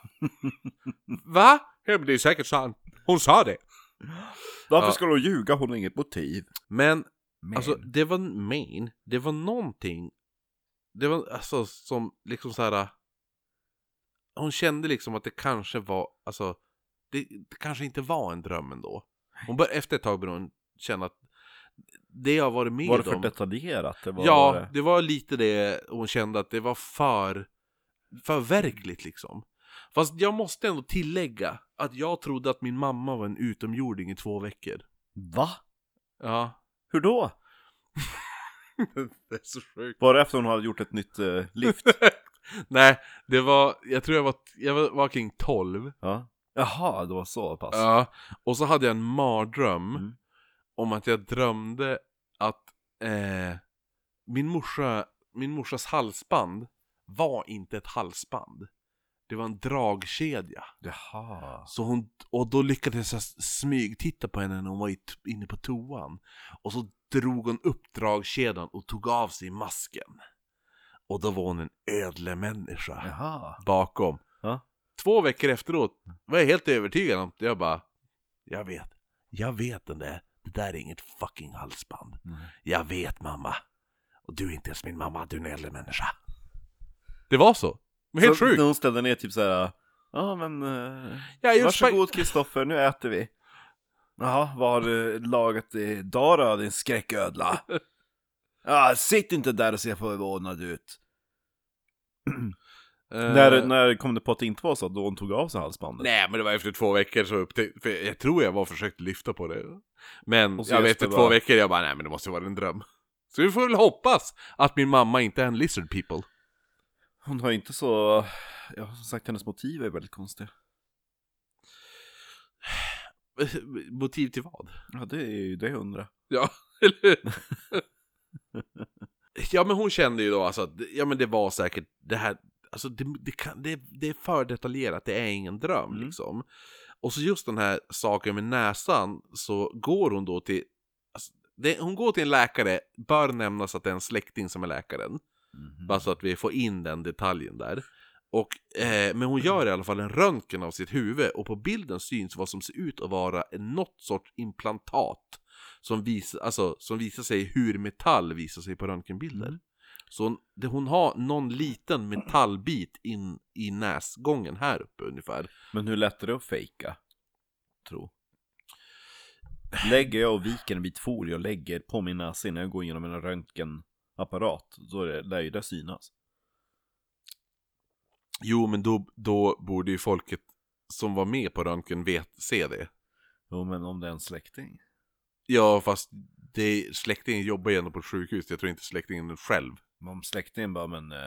Va? Ja, men det är säkert sant. Hon sa det. Varför Ja. ska hon ljuga? Hon har inget motiv. Men, Men. alltså det var main. Det var någonting. Det var alltså som liksom så här. Hon kände liksom att det kanske var, alltså. Det, det kanske inte var en dröm ändå. Hon bör, efter ett tag började hon känna att det jag har varit med var det för om. detaljerat? Det var, ja, var det? det var lite det hon kände att det var för, för verkligt liksom. Fast jag måste ändå tillägga att jag trodde att min mamma var en utomjording i två veckor. Va? Ja. [LAUGHS] Hur då? det är så sjukt. Var det efter hon hade gjort ett nytt eh, lift? [LAUGHS] Nej, det var, jag tror jag var, jag var, var kring 12. ja. Jaha, det var så pass. Ja. Och så hade jag en mardröm Alltså. Mm. om att jag drömde att eh, min, morsa, min morsas halsband var inte ett halsband. Det var en dragkedja. Jaha. Så hon, och då lyckades jag s- smygtitta på henne när hon var i t- inne på toan. Och så drog hon upp dragkedjan och tog av sig masken. Och då var hon en ödlemänniska Jaha. bakom. Ja. Två veckor efteråt var jag helt övertygad om det. Jag bara, jag vet, jag vet den där, det där är inget fucking halsband. Nej. Jag vet mamma. Och du är inte ens min mamma, du är en äldre människa. Det var så. Men helt så, sjukt. när hon ställde ner typ såhär, ja men eh, Jag är varsågod Kristoffer, nu äter vi. Jaha, vad har du lagat idag då din skräcködla? Ja, sitt inte där och se förvånad ut. Eh, när, när kom du på att det inte var så, då hon tog av sig halsbandet? Nej, men det var efter två veckor så upptäckte för jag tror jag var försökt lyfta på det. Men Och så jag vet just det efter två bara- veckor, jag bara nej men det måste ju vara en dröm. Så vi får väl hoppas att min mamma inte är en lizard people. Hon har ju inte så, ja som sagt hennes motiv är väldigt konstiga. Motiv till vad? Ja det är ju det jag undrar. Ja, [LAUGHS] eller hur? Ja, men hon kände ju då alltså att ja, men det var säkert det här. Alltså det, det, kan, det, det är för detaljerat, det är ingen dröm Mm. liksom. Och så just den här saken med näsan så går hon då till, alltså, det, hon går till en läkare, Mhm. bör nämnas att det är en släkting som är läkaren. Bara så att vi får in den detaljen där. Och, eh, men hon gör i alla fall en röntgen av sitt huvud och på bilden syns vad som ser ut att vara något sorts implantat som, vis, alltså, som visar sig hur metall visar sig på röntgenbilder. Så hon, det, hon har någon liten metallbit in i näsgången här uppe ungefär. Men hur lätt är det att fejka? Tro. Lägger jag och viker en bit folie och lägger på min näsa innan jag går igenom en röntgenapparat, då är det, lär ju det synas. Jo, men då, då borde ju folket som var med på röntgen vet, se det. Jo, men om det är en släkting. Ja, fast det, släktingen jobbar ju ändå på ett sjukhus. Jag tror inte släktingen själv. Men Om släktingen bara, men... Eh,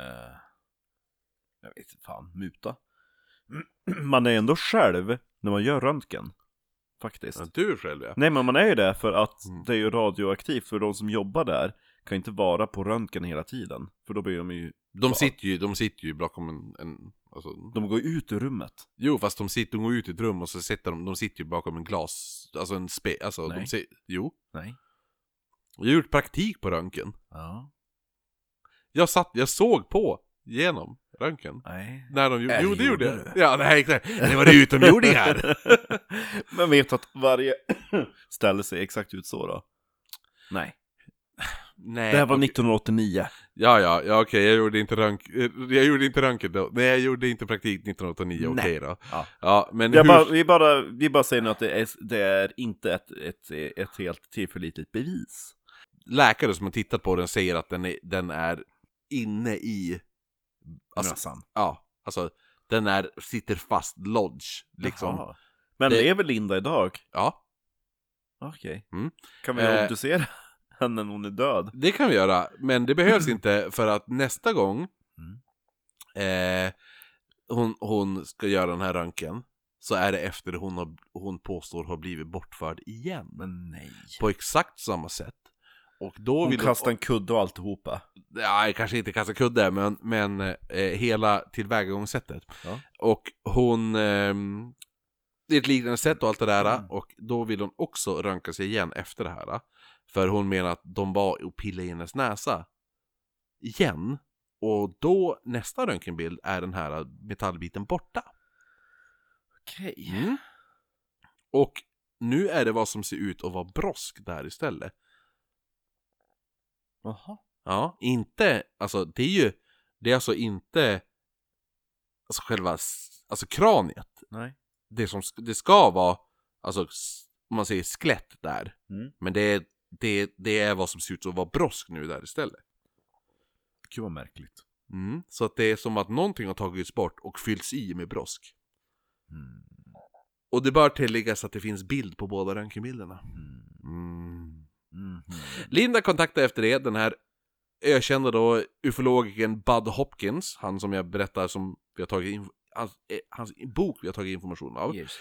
jag vet inte, fan, muta. [CLEARS THROAT] Man är ändå själv när man gör röntgen. Faktiskt. Ja, du är själv ja. Nej men man är ju det för att Mm. det är ju radioaktivt för de som jobbar där kan inte vara på röntgen hela tiden. För då blir de ju, De sitter ju, de sitter ju bakom en, en alltså, de går ut ur rummet. jo fast de sitter, de går ut i ett rum och så sitter de, de sitter ju bakom en glas, alltså en spe, alltså Nej. de ser, jo. Nej. Jag har gjort praktik på röntgen. Ja. Jag satt, jag såg på genom röntgen. Nej. När de gjorde, Äh, jo det gjorde gjorde jag. Ja, nej exakt. Det var det utomjordingar. men vet du att varje [CLEARS THROAT] ställe ser exakt ut så då? Nej. nej. [LAUGHS] Det här var Eh, okej. 1989. Ja, ja, ja okej, jag gjorde inte röntg- eh, jag gjorde inte röntgen då. Nej, jag gjorde inte praktik 1989, Nej. okej då. Ja. ja, men Jag hur... bara, vi, bara, vi bara säger nu att det är, det är inte ett, ett, ett helt tillförlitligt bevis. läkare som har tittat på den säger att den är, den är inne i... Alltså, Mössan. ja, alltså den är, sitter fast lodge, liksom. Jaha. Men Det- lever Linda idag? Ja, Okej. Mm. Kan vi Eh. obducera henne när hon är död? det kan vi göra, men det [CLEARS THROAT] behövs inte för att nästa gång Mm. eh, hon, hon ska göra den här röntgen så är det efter hon, har, hon påstår har blivit bortförd igen. Men nej. På exakt samma sätt. Och då Hon vill kastar en kudde och alltihopa. ja, kanske inte kasta kudde, men, men eh, hela tillvägagångssättet. Ja. Och hon, ehm, det är ett liknande sätt och allt det där, Mm. och då vill hon också röntga sig igen efter det här. För hon menar att de var och pillade i hennes näsa igen. Och då, nästa röntgenbild, är den här metallbiten borta. Okej. Mm. Och nu är det vad som ser ut att vara brosk där istället. Jaha. Ja, inte, alltså det är ju, det är alltså inte, alltså själva, s- alltså kraniet. Nej. Det som, sk- det ska vara, alltså s- om man säger skelett där. Mm. Men det är, det, det är vad som ser ut att vara brosk nu där istället. Gud vad märkligt. Mm. Så att det är som att någonting har tagits bort och fyllts i med brosk. Mm. Och det bör tilläggas att det finns bild på båda röntgenbilderna. Mm. Mm. Mm. Linda kontaktade efter det den här ökända då ufologen Bud Hopkins, han som jag berättar som vi har tagit in, hans, eh, hans bok vi har tagit information av. Yes.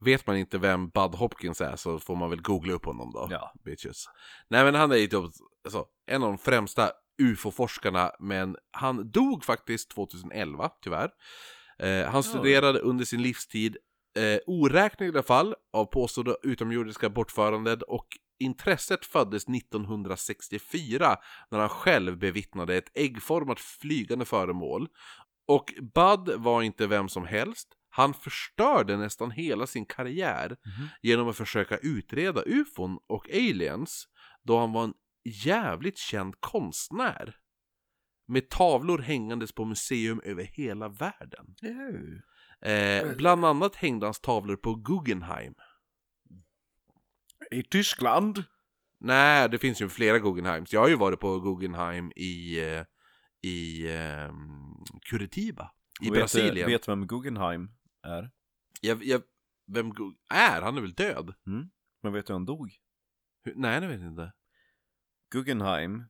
Vet man inte vem Bud Hopkins är så får man väl googla upp honom då. Ja. Bitches. Nej men han är ju typ, alltså, en av de främsta ufo-forskarna, men han dog faktiskt 2011, tyvärr. Eh, han studerade under sin livstid eh, oräkneliga fall av påstådda utomjordiska bortföranden och intresset föddes 1964 när han själv bevittnade ett äggformat flygande föremål. Och Bud var inte vem som helst. Han förstörde nästan hela sin karriär genom att försöka utreda ufon och aliens då han var en jävligt känd konstnär. Med tavlor hängandes på museum över hela världen. Jo. Mm. Eh, bland annat hängde hans tavlor på Guggenheim. I Tyskland? Nej, det finns ju flera Guggenheims. Jag har ju varit på Guggenheim i, eh, i ehm, Curitiba i vet, Brasilien. Vet vem Guggenheim är? Jag, jag, vem Gug- är? Han är väl död? Men vet du hur han dog? Hur, nej, det vet jag inte. Guggenheim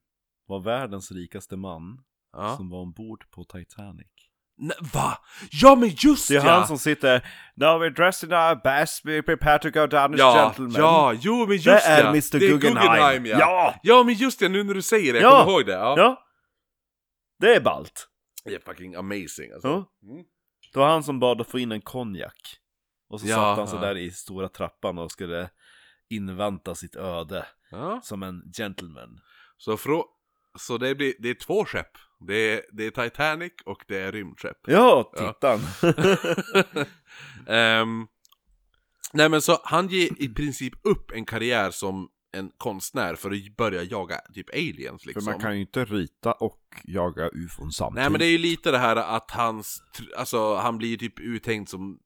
var världens rikaste man Ja. som var ombord på Titanic. Nej, va? Ja, men just Det är ja! han som sitter Now we're dressed in our best, we prepare to go down as Ja, gentlemen. ja, jo men just det är ja. Mr Guggenheim. ja. ja! ja! men just det, nu när du säger det, Ja. jag kommer ihåg det. Ja. Ja. Det är ballt. Det är fucking amazing alltså. Ja. Mm. Det var han som bad att få in en konjak. Och så Ja, satt han så ja. där i stora trappan och skulle invänta sitt öde Ja. som en gentleman. Så, frå- så det, blir, det är två skepp Det är, det är Titanic och det är rymdskepp. Ja, [LAUGHS] tittan. [LAUGHS] Liksom. Ehm, nej men så han ger i princip upp en karriär som en konstnär för att börja jaga typ aliens För liksom. man kan ju inte rita och jaga ufon samtidigt. Nej men det är ju lite det här att hans, tr- alltså han blir typ uthängd som...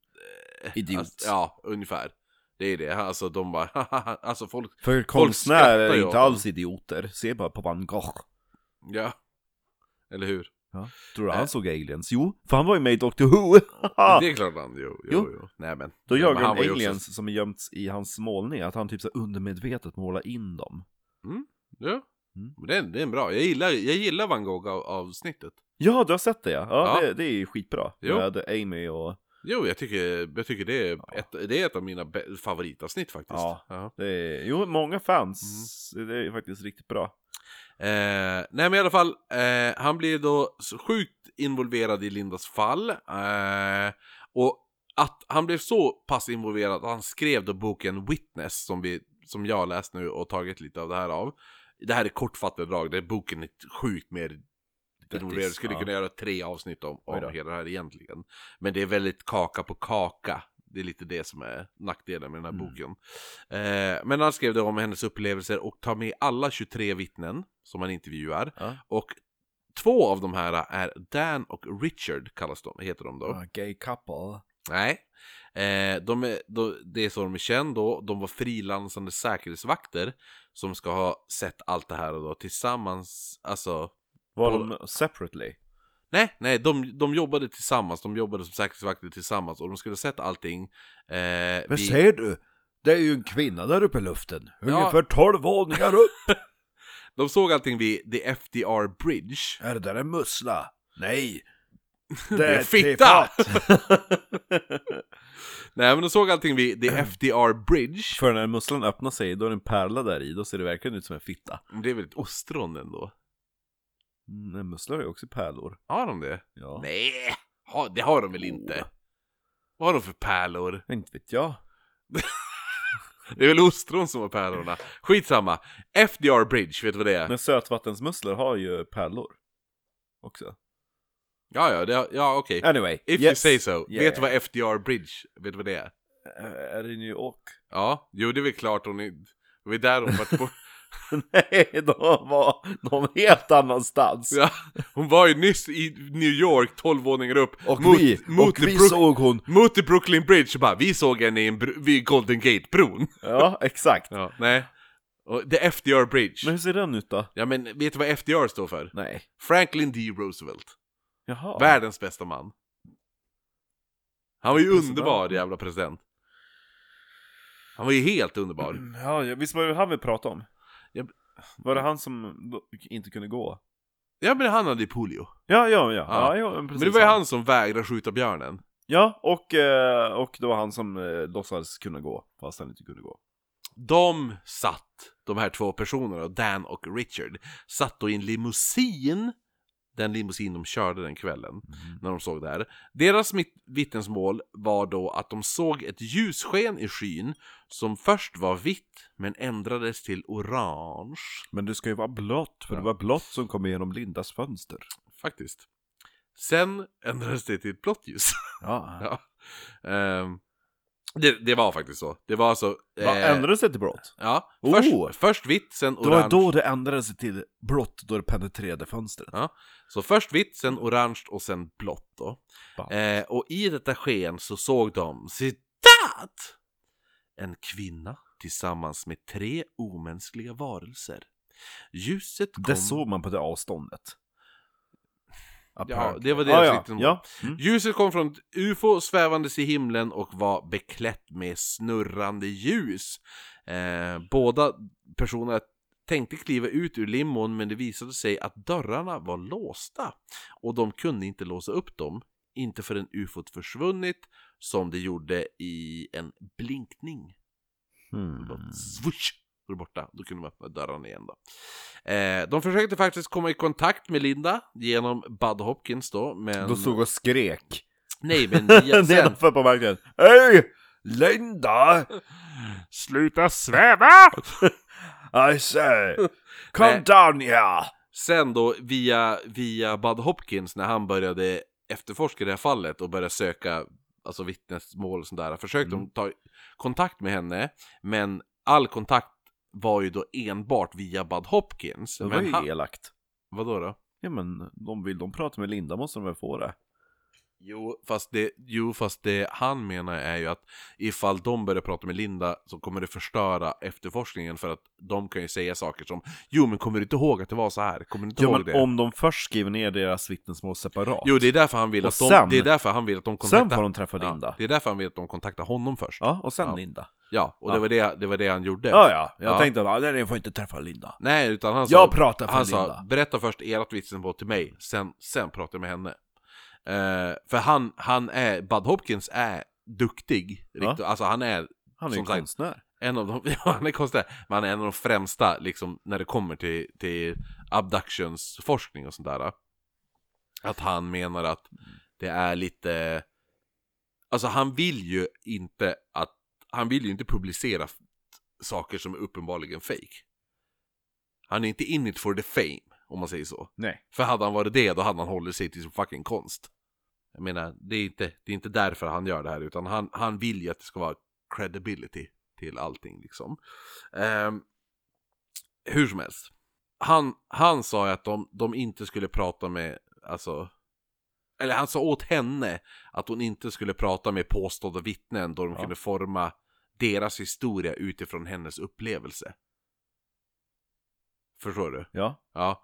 eh, Idiot. Alltså, ja, ungefär. Det är det, alltså de bara, [LAUGHS] alltså folk, För konstnärer skrattar ju är åt inte dem. alls idioter. Se bara på van Gogh. ja. Eller hur? Tror du Äh. han såg aliens? Jo, för han var ju med i Doctor Who! Det är klart han, jo, jo, Jo. jo. Nej men. Då Nej, jagar men han de var ju aliens Också, som är gömts i hans målning, att han typ så här undermedvetet målar in dem. ja. Mm. Men det, är- det är en bra, jag gillar, jag gillar Van Gogh-avsnittet. Ja, du har sett det ja! Ja, Ja. Det, det är ju skitbra. Jo. Med Amy och... Jo, jag tycker, jag tycker det, är ett, det är ett av mina bä- favoritavsnitt faktiskt. Ja. Det är, jo, många fans. Mm. Det är faktiskt riktigt bra. Eh, nej men i alla fall, eh, han blir då så sjukt involverad i Lindas fall. Eh, och att han blev så pass involverad att han skrev då boken Witness som, vi, som jag har läst nu och tagit lite av det här av. Det här är kortfattade drag, det är boken är sjukt mer involverad. Jag skulle ja. kunna göra tre avsnitt om, Oj då. om hela det här egentligen. Men det är väldigt kaka på kaka. Det är lite det som är nackdelen med den här Mm. boken. Eh, men han skrev det om hennes upplevelser och tar med alla 23 vittnen som han intervjuar. Ja. Och två av de här är Dan och Richard kallas de, heter de då. Ah, Gay couple. Nej. Eh, de är, då- det är så de är kända då. De var frilansande säkerhetsvakter som ska ha sett allt det här då tillsammans. Alltså, Var På- de separately? nej, nej, de, de jobbade tillsammans. De jobbade som säkerhetsvakter tillsammans och de skulle ha sett allting. Eh, Men vid- ser du? Det är ju en kvinna där uppe i luften. Ja. Ungefär 12 våningar upp! de såg allting vid The FDR [LAUGHS] Bridge. Är det där en mussla? [LAUGHS] Nej! Det är ett fitta! tefat. Nej, men de såg allting vid The FDR Bridge. [LAUGHS] För när musslan öppnar sig, då är det en pärla där i, då ser det verkligen ut som en fitta. Mm, Men Det är väl ett ostron ändå? Men musslor är ju också pärlor. Har de det? Ja. Oh. Nej, ha, det har de väl inte? Vad har de för pärlor? Inte vet jag. Det är väl ostron som har pärlorna? Skitsamma! FDR Bridge, vet du vad det är? Men sötvattensmusslor har ju pärlor. Också. Ja, ja, det, ja okej. Anyway. If you yes. say so. Yeah. Vet du vad FDR Bridge, vet du vad det är? Äh, Är det New York? [LAUGHS] Ja, jo det är väl klart hon är... Det var där hon var på... Nej, de var någon helt annanstans. ja, [LAUGHS] hon var ju nyss i New York, 12 våningar upp. Och mot, vi, mot och the vi Brook- [LAUGHS] såg hon. Mot the Brooklyn Bridge och bara, vi såg henne i en br- vid Golden Gate-bron. [LAUGHS] Ja, exakt. Ja, nej. Och the FDR Bridge. Men hur ser den ut då? Ja men vet du vad FDR står för? Nej. Franklin D. Roosevelt. Jaha. Världens bästa man. Han var ju President. underbar jävla president. Han var ju helt underbar. Mm, Ja, ja, visst var det han vi pratade om? Jag- Var det han som då inte kunde gå? Ja men han hade ju polio. Ja, ja, ja. Ja. ja. ja precis Men det var ju han som vägrade skjuta björnen. Ja, och, eh, och det var han som eh, låtsades kunna gå, fast han inte kunde gå. De satt, de här två personerna, Dan och Richard, satt då i en limousin. Den limousin de körde den kvällen. Mm. när de såg det här. Deras mitt- vittnesmål var då att de såg ett ljussken i skyn som först var vitt men ändrades till orange. Men det ska ju vara blått, för Ja. det var blått som kom igenom Lindas fönster. Faktiskt. Sen ändrades det till ett blått ljus. [LAUGHS] Ja. ja. Ehm, det, det var faktiskt så. Det var alltså... Va, eh, ändrades det till blått? Ja, Oh! först, först vitt, sen Det var orange. då det ändrades till blått, då det penetrerade fönstret. Ja. Så först vitt, sen orange och sen blått då. Bam. Eh, och i detta sken så såg de, citat! En kvinna tillsammans med tre omänskliga varelser. Ljuset kom... Det såg man på det avståndet. Ja, det var Ja, deras ja. vittnesmål. ja. Mm. Ljuset kom från ett UFO svävandes i himlen och var beklätt med snurrande ljus. Eh, båda personerna tänkte kliva ut ur limon men det visade sig att dörrarna var låsta och de kunde inte låsa upp dem. Inte förrän UFOt försvunnit som det gjorde i en blinkning. Mm. Mm. Bara svush, då är det borta. Då kunde man öppna dörren igen då. Eh, de försökte faktiskt komma i kontakt med Linda genom Bud Hopkins då, men... Då stod och skrek. Nej, men via sen... Nedanför på marken. Hej! Linda! [LAUGHS] Sluta sväva! I say! Come [LAUGHS] Nej. down here! Sen då via, via Bud Hopkins när han började efterforska det här fallet och började söka alltså vittnesmål och sånt där. Försökte Mm. de ta kontakt med henne, men all kontakt var ju då enbart via Bud Hopkins. Det var Men ju han, elakt. vadå då? Ja men de vill de prata med Linda måste de väl få det? Jo fast, det, jo, fast det han menar är ju att ifall de börjar prata med Linda så kommer det förstöra efterforskningen för att de kan ju säga saker som Jo, men kommer du inte ihåg att det var så här? Kommer du inte Ja ihåg men det? om de först skriver ner deras vittnesmål separat. Jo, det är därför han vill Och att de, sen- det är därför han vill att de kontaktar sen får de träffa Ja, Linda. det är därför han vill att de kontaktar honom först. Ja, Ja, och sen Ja. Linda. och Det, var det, det var det han gjorde. Ja, ja. Jag Ja. tänkte bara, nej, jag får inte träffa Linda. Nej, utan han sa... Jag pratar för han Linda. sa, berätta först ert vittnesmål till mig, sen, sen pratar jag med henne. Eh, för han, han är, Bud Hopkins är duktig. Ja. Riktigt, alltså han är Han är ju Som sagt. konstnär. en av de, [LAUGHS] ja, han är konstnär, men han är en av de främsta liksom när det kommer till, till abductionsforskning och sånt där. Att han menar att det är lite, alltså han vill ju inte att, han vill ju inte publicera f- saker som är uppenbarligen fake. Han är inte in it for the fame, om man säger så. Nej. För hade han varit det, då hade han hållit sig till sin fucking konst. Jag menar, det är inte, det är inte därför han gör det här, utan han, han vill ju att det ska vara credibility till allting liksom. Ehm, hur som helst. Han, han sa ju att de, de inte skulle prata med, alltså, eller han sa åt henne att hon inte skulle prata med påstådda vittnen då de Ja. kunde forma deras historia utifrån hennes upplevelse. Förstår du? Ja. Ja.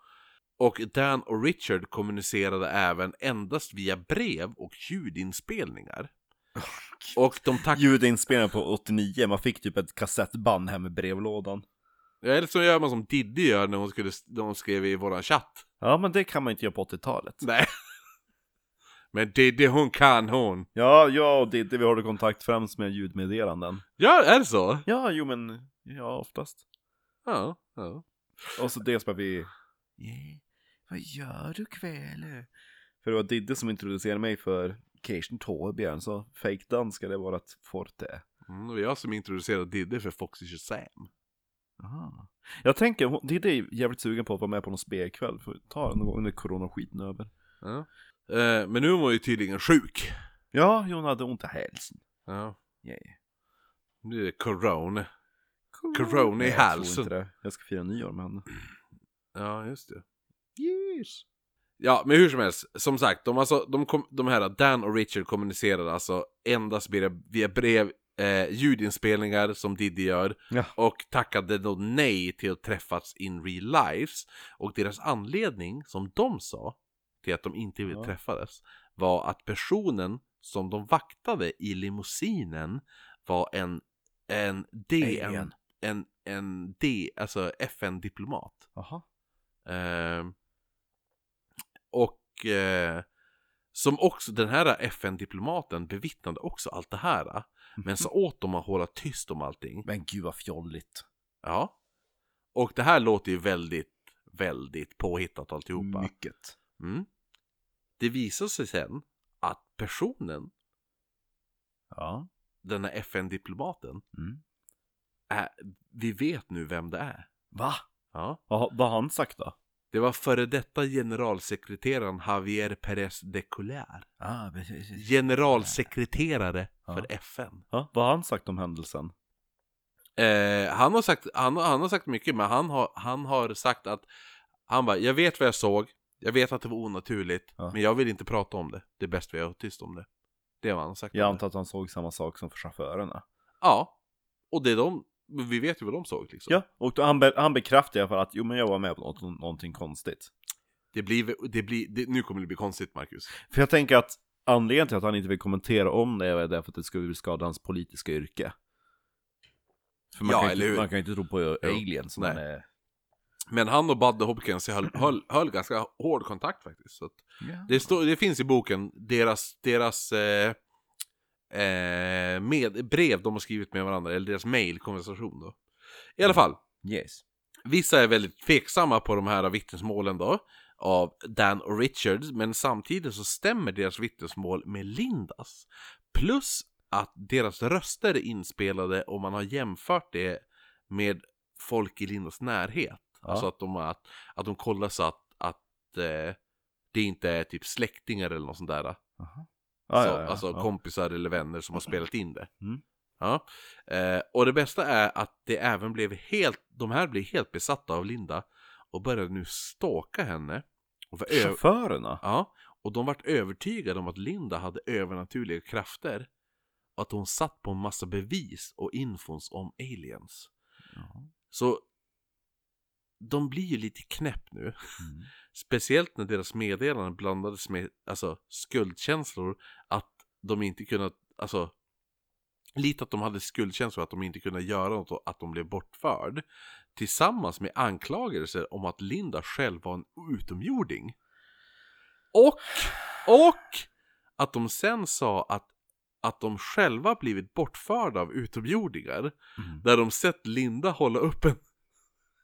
Och Dan och Richard kommunicerade även endast via brev och ljudinspelningar. Och de tackade... Ljudinspelning på 89, man fick typ ett kassettband hem i brevlådan. Eller så gör man som Diddy gör när hon, skulle, när hon skrev i våran chatt. Ja men det kan man inte göra på 80-talet. Nej. [LAUGHS] Men Diddy hon kan hon. Ja, jag och Didde vi håller kontakt främst med ljudmeddelanden. Ja, är det så? Ja, jo men, ja oftast. Ja. ja. Och så dels bara vi... Eh, Vad gör du kväll? För det var Didde som introducerade mig för Kirsten Torbjörn, så fake danska det var ett forte. Mm, det var jag som introducerade Diddy för Foxy Shazam. Aha. Jag tänker, hon- Didde är jävligt sugen på att vara med på någon spelkväll, för ta den någon gång när coronaskiten är över. Ja. Eh, men nu var hon ju tydligen sjuk. Ja, hon hade ont i hälsen. Ja. Yeah. Nu är det corona. Corona i Nej, jag tror halsen. inte det. Jag ska fira nyår med henne. Ja, just det. Yes. Ja, men hur som helst, som sagt, de, alltså, de, kom, de här Dan och Richard kommunicerade alltså endast via, via brev, eh, ljudinspelningar som Diddy gör Ja. och tackade då nej till att träffas in real lives. Och deras anledning, som de sa, till att de inte ville Ja. träffades var att personen som de vaktade i limousinen var en, en D, en, Alien. en, en D, alltså FN-diplomat. Jaha. Eh, och eh, som också, den här FN-diplomaten bevittnade också allt det här. eh, Men sa åt dem att hålla tyst om allting. Men gud vad fjolligt. Ja. Och det här låter ju väldigt, väldigt påhittat alltihopa. Mycket. Mm. Det visar sig sen att personen, Ja. den här FN-diplomaten, Mm. är, vi vet nu vem det är. Va? Ja. Vad, vad har han sagt då? Det var före detta generalsekreteraren Javier Perez de Couler. Ah, generalsekreterare Ja. för FN. ja, vad har han sagt om händelsen? Eh, han, har sagt, han, han har sagt mycket, men han har, han har sagt att han bara, jag vet vad jag såg, jag vet att det var onaturligt, Ja. men jag vill inte prata om det. Det är bäst vi har tyst om det. Det är vad han har sagt. Jag om det. antar att han såg samma sak som för chaufförerna. Ja, och det är de, vi vet ju vad de såg liksom. Ja, och då han, be, han bekräftade i alla fall att jo men jag var med på något, någonting konstigt. Det blir, det blir, det, nu kommer det bli konstigt Marcus. För jag tänker att anledningen till att han inte vill kommentera om det är därför att det skulle skada hans politiska yrke. För man, Ja, kan, ju eller hur? inte, man kan ju inte tro på aliens. Nej. men, eh, Men han och Buddy Hopkins höll, höll, höll ganska hård kontakt faktiskt. Så att ja. Det, står, det finns i boken deras, deras eh, eh, med, brev de har skrivit med varandra, eller deras mailkonversation då. I alla fall, Yes. vissa är väldigt tveksamma på de här vittnesmålen då, av Dan och Richard, men samtidigt så stämmer deras vittnesmål med Lindas. Plus att deras röster är inspelade och man har jämfört det med folk i Lindas närhet. Ja. Alltså att de, har- att, att de kollar så att att eh, det inte är typ släktingar eller något sånt där. Ja, så, ja, ja, alltså ja. kompisar eller vänner som har spelat in det. Mm. Ja. Eh, och det bästa är att det även blev helt, de här blev helt besatta av Linda och började nu stalka henne. Och var ö- Chaufförerna? ja, och de vart övertygade om att Linda hade övernaturliga krafter. Och att hon satt på en massa bevis och infons om aliens. Så de blir ju lite knäpp nu. Mm. Speciellt när deras meddelanden blandades med alltså, skuldkänslor att de inte kunnat, alltså lite att de hade skuldkänslor att de inte kunde göra något och att de blev bortförd. Tillsammans med anklagelser om att Linda själv var en utomjording. Och, och att de sen sa att, att de själva blivit bortförda av utomjordingar. Mm. Där de sett Linda hålla upp en... [LAUGHS]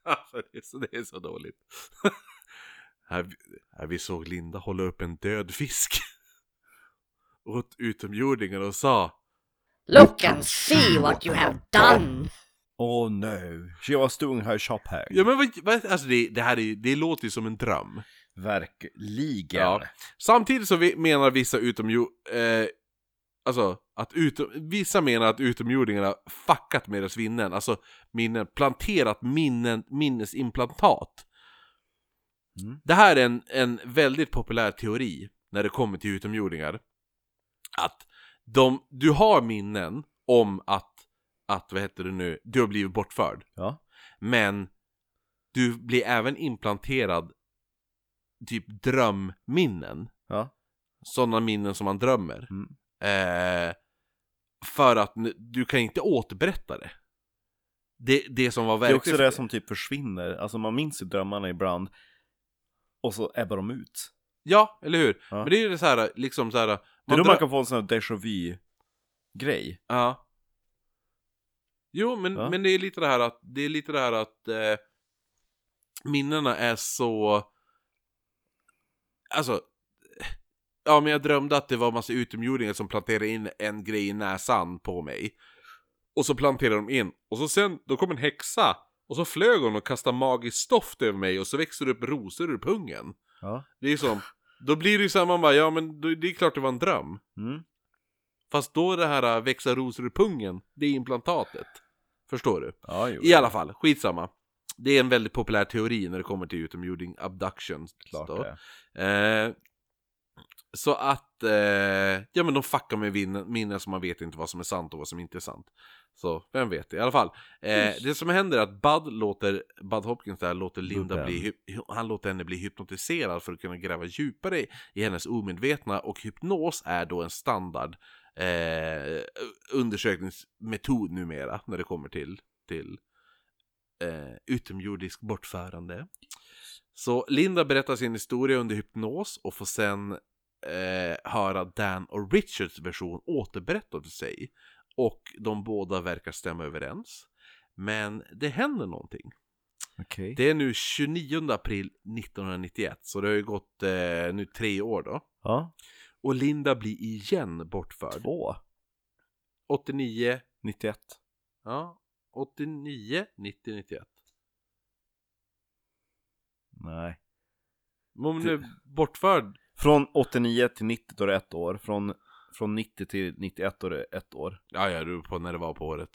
Alltså det är så, det är så dåligt. [LAUGHS] här, här vi såg Linda hålla upp en död fisk. [LAUGHS] Åt utomjordingar och sa Look and see what you have done. Åh nej, jag var stung här i Chopin. Ja men vad, vad alltså det, det här är, ju- det låter ju som en dröm. Verkligen. Ja. Samtidigt så vi, menar vissa utomjord... Eh, alltså, att utom, vissa menar att utomjordingarna fuckat med deras vinnen. Alltså, minnen, planterat minnen, minnesimplantat. Mm. Det här är en, en väldigt populär teori när det kommer till utomjordingar. Att de, du har minnen om att, att, vad heter det nu, du har blivit bortförd. Ja. Men du blir även implanterad typ drömminnen. Ja. Sådana minnen som man drömmer. Mm. Eh, för att n- du kan inte återberätta det. Det, det som var Det är verkligt. också det som typ försvinner, alltså man minns ju drömmarna ibland och så ebbar de ut. Ja, eller hur? Ja. Men det är ju det så här, liksom så här. Det är man då man drö- kan få en sån här déjà vu-grej. Ja. Jo, men, Ja. men det är lite det här att, det är lite det här att eh, minnena är så... Alltså, ja men jag drömde att det var massa utomjordingar som planterade in en grej i näsan på mig. Och så planterade de in, och så sen, då kom en häxa. Och så flög hon och kastade magiskt stoft över mig och så växte det upp rosor ur pungen. Ja. Det är som, då blir det ju samma, man bara, ja men då- det är klart det var en dröm. Mm. Fast då är det här äh, växa rosor i pungen, det är implantatet. Förstår du? Ja, jo. I alla fall, skitsamma. Det är en väldigt populär teori när det kommer till utomjording abduction. Klart det. Eh, så att, eh, ja men de fuckar med vin- minnen som man vet inte vad som är sant och vad som inte är sant. Så vem vet, i alla fall. Eh, det som händer är att Bud låter, Bud Hopkins där låter Linda Gubben. bli, hy- han låter henne bli hypnotiserad för att kunna gräva djupare i, i hennes omedvetna och hypnos är då en standard eh, undersökningsmetod numera när det kommer till, till eh, utomjordisk bortförande. Så Linda berättar sin historia under hypnos och får sen eh, höra Dan och Richards version återberättad för sig. Och de båda verkar stämma överens. Men det händer någonting. Okej. Det är nu 29 april 1991, så det har ju gått eh, nu tre år då. Ja. Och Linda blir igen bortförd. Två. 89, 91. ja, 89, 90, 91. Nej. Men Om hon är bortförd, Från 89 till 90 då är det ett år. Från, från 90 till 91 då är det ett år. ja ja, du på när det var på året.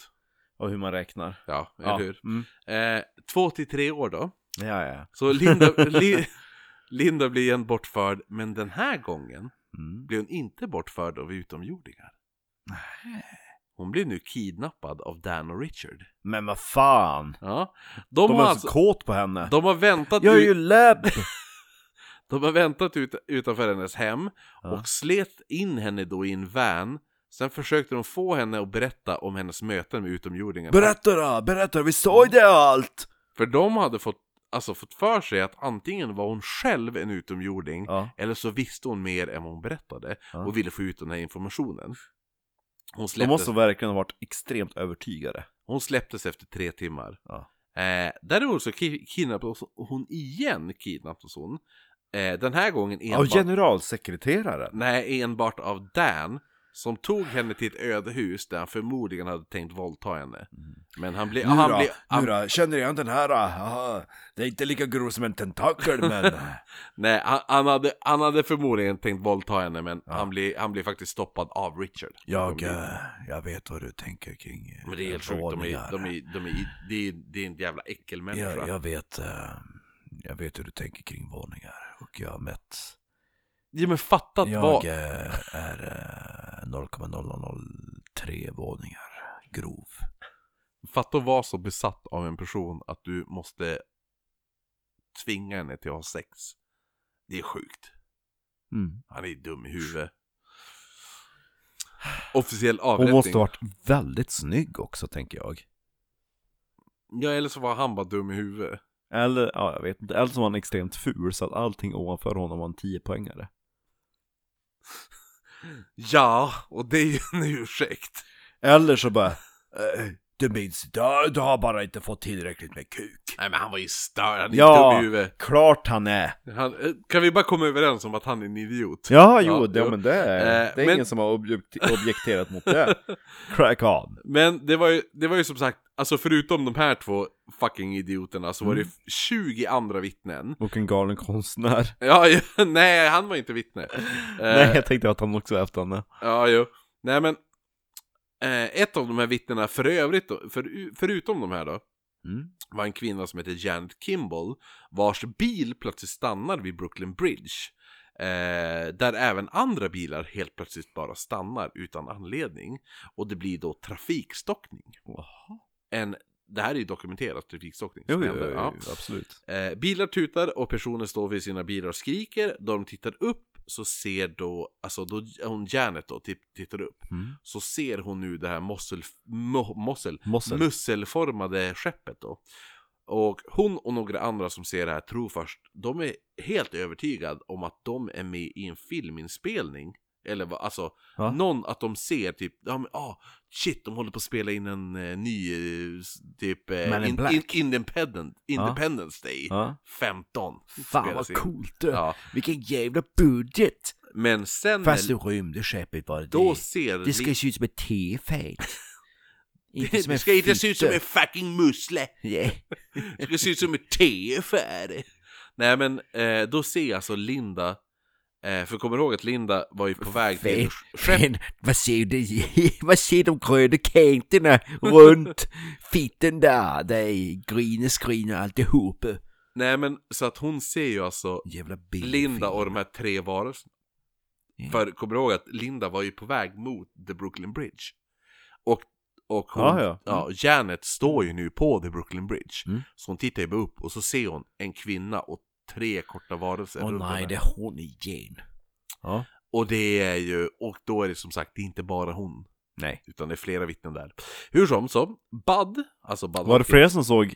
Och hur man räknar. Ja, eller ja. hur? Mm. Eh, två till tre år då. Ja, ja. Så Linda, [LAUGHS] Li, Linda blir igen bortförd, men den här gången Mm. blir hon inte bortförd av utomjordingar. Hon blir nu kidnappad av Dan och Richard. Men vad fan. Ja. De, De har, är så alltså, kåt på henne. de har väntat, Jag är ut, ju [LAUGHS] lab. de har väntat ut, utanför hennes hem Ja. och slet in henne då i en van. Sen försökte de få henne att berätta om hennes möten med utomjordingarna. Berätta då, berätta vi sa ju det allt! För de hade fått, alltså, fått för sig att antingen var hon själv en utomjording Ja. Eller så visste hon mer än vad hon berättade Ja. och ville få ut den här informationen. Hon De släpptes, måste verkligen ha varit extremt övertygade. hon släpptes efter tre timmar. Ja. Eh, däremot så ki- kidnappades hon igen, kidnappades hon. Eh, den här gången Av enbart, generalsekreteraren? nej, enbart av Dan Som tog henne till ett ödehus där han förmodligen hade tänkt våldta henne. Men han blev... Mm. Nu han då, blev han, nu då, känner jag den här? Aha, det är inte lika grov som en tentakel [LAUGHS] men... nej, han, han, hade, han hade förmodligen tänkt våldta henne men han, blev, han blev faktiskt stoppad av Richard. jag, eh, jag vet vad du tänker kring eh, Men det är helt sjukt, de våningar. är, de är, de är, det är, det är en jävla äckelmänniska. jag, jag vet, eh, jag vet hur du tänker kring våningar och jag har mätt. Ja men fattat jag vad... eh, är eh, 0,003 våningar grov. Fatta att vara så besatt av en person att du måste tvinga henne till att ha sex. Det är sjukt. Mm. Han är dum i huvudet. Officiell Hon avrättning. måste ha varit väldigt snygg också tänker jag. Ja eller så var han bara dum i huvudet. Eller, ja jag vet inte, eller så var han extremt ful så att allting ovanför honom var en 10-poängare. Ja, och det är ju en ursäkt. Eller så bara, [LAUGHS] eh, du minns, du, du har bara inte fått tillräckligt med kuk. Nej men han var ju störd, han är Ja. dum i huvudet. Klart han är! Han, eh, kan vi bara komma överens om att han är en idiot? Ja, jo, Ja, det, jo. men det, är- Eh, det är men- ingen som har objekt- objekterat mot det. [LAUGHS] Crack on! Men det var, ju, det var ju som sagt, alltså förutom de här två fucking idioterna så var Mm. det 20 andra vittnen. Och en galen konstnär. Ja, ju- [LAUGHS] nej han var inte vittne. [LAUGHS] Nej, Eh, jag tänkte att han också efter henne. Ja, jo. Nej, men eh, ett av de här vittnena, för övrigt då, för, förutom de här då, Mm. var en kvinna som heter Janet Kimball, vars bil plötsligt stannar vid Brooklyn Bridge. Eh, där även andra bilar helt plötsligt bara stannar utan anledning. Och det blir då trafikstockning. En, det här är ju dokumenterat, trafikstockning. som Jo, jo, händer, jo, ja. jo, absolut. Eh, bilar tutar och personer står vid sina bilar och skriker. Då de tittar upp så ser då, alltså då hon Janet då titt- tittar upp. Mm. Så ser hon nu det här mossel, mo, mossel, Mossel. musselformade skeppet då. Och hon och några andra som ser det här tror först, de är helt övertygade om att de är med i en filminspelning. Eller vad, alltså, Va? någon att de ser typ, ja men ah, shit de håller på att spela in en eh, ny, eh, s- typ, eh, Men in in, Black. in, independent, Independence Day. Ja. 15. Fan spelas vad in. coolt du! Ja. Vilken jävla budget! Men sen Fast när, du rymde skeppet var det. då ser Det ska se ut som [LAUGHS] ett tefat. det, det ska inte se ut som en fucking musle. Yeah. Det ska se ut som ett tefär. Nej men eh, då ser alltså Linda, eh, för kommer du ihåg att Linda var ju på väg till sk- [LAUGHS] skepp. Men vad ser du? [LAUGHS] Vad ser de gröna kanterna runt fitten där? Det är grine, skrine alltihop. Nej men så att hon ser ju alltså Jävla bil. Linda och de här tre varelserna. Ja. För kommer du ihåg att Linda var ju på väg mot The Brooklyn Bridge. Och, och hon, Ja, ja. Mm. Janet står ju nu på The Brooklyn Bridge. Mm. Så hon tittar ju bara upp och så ser hon en kvinna och tre korta varelser Åh runt nej, henne. det är hon igen. Ja. Och det är ju, och då är det som sagt, det är inte bara hon. Nej. Utan det är flera vittnen där. Hur som så, Bud, alltså Bud Var det Hopkins- fler som såg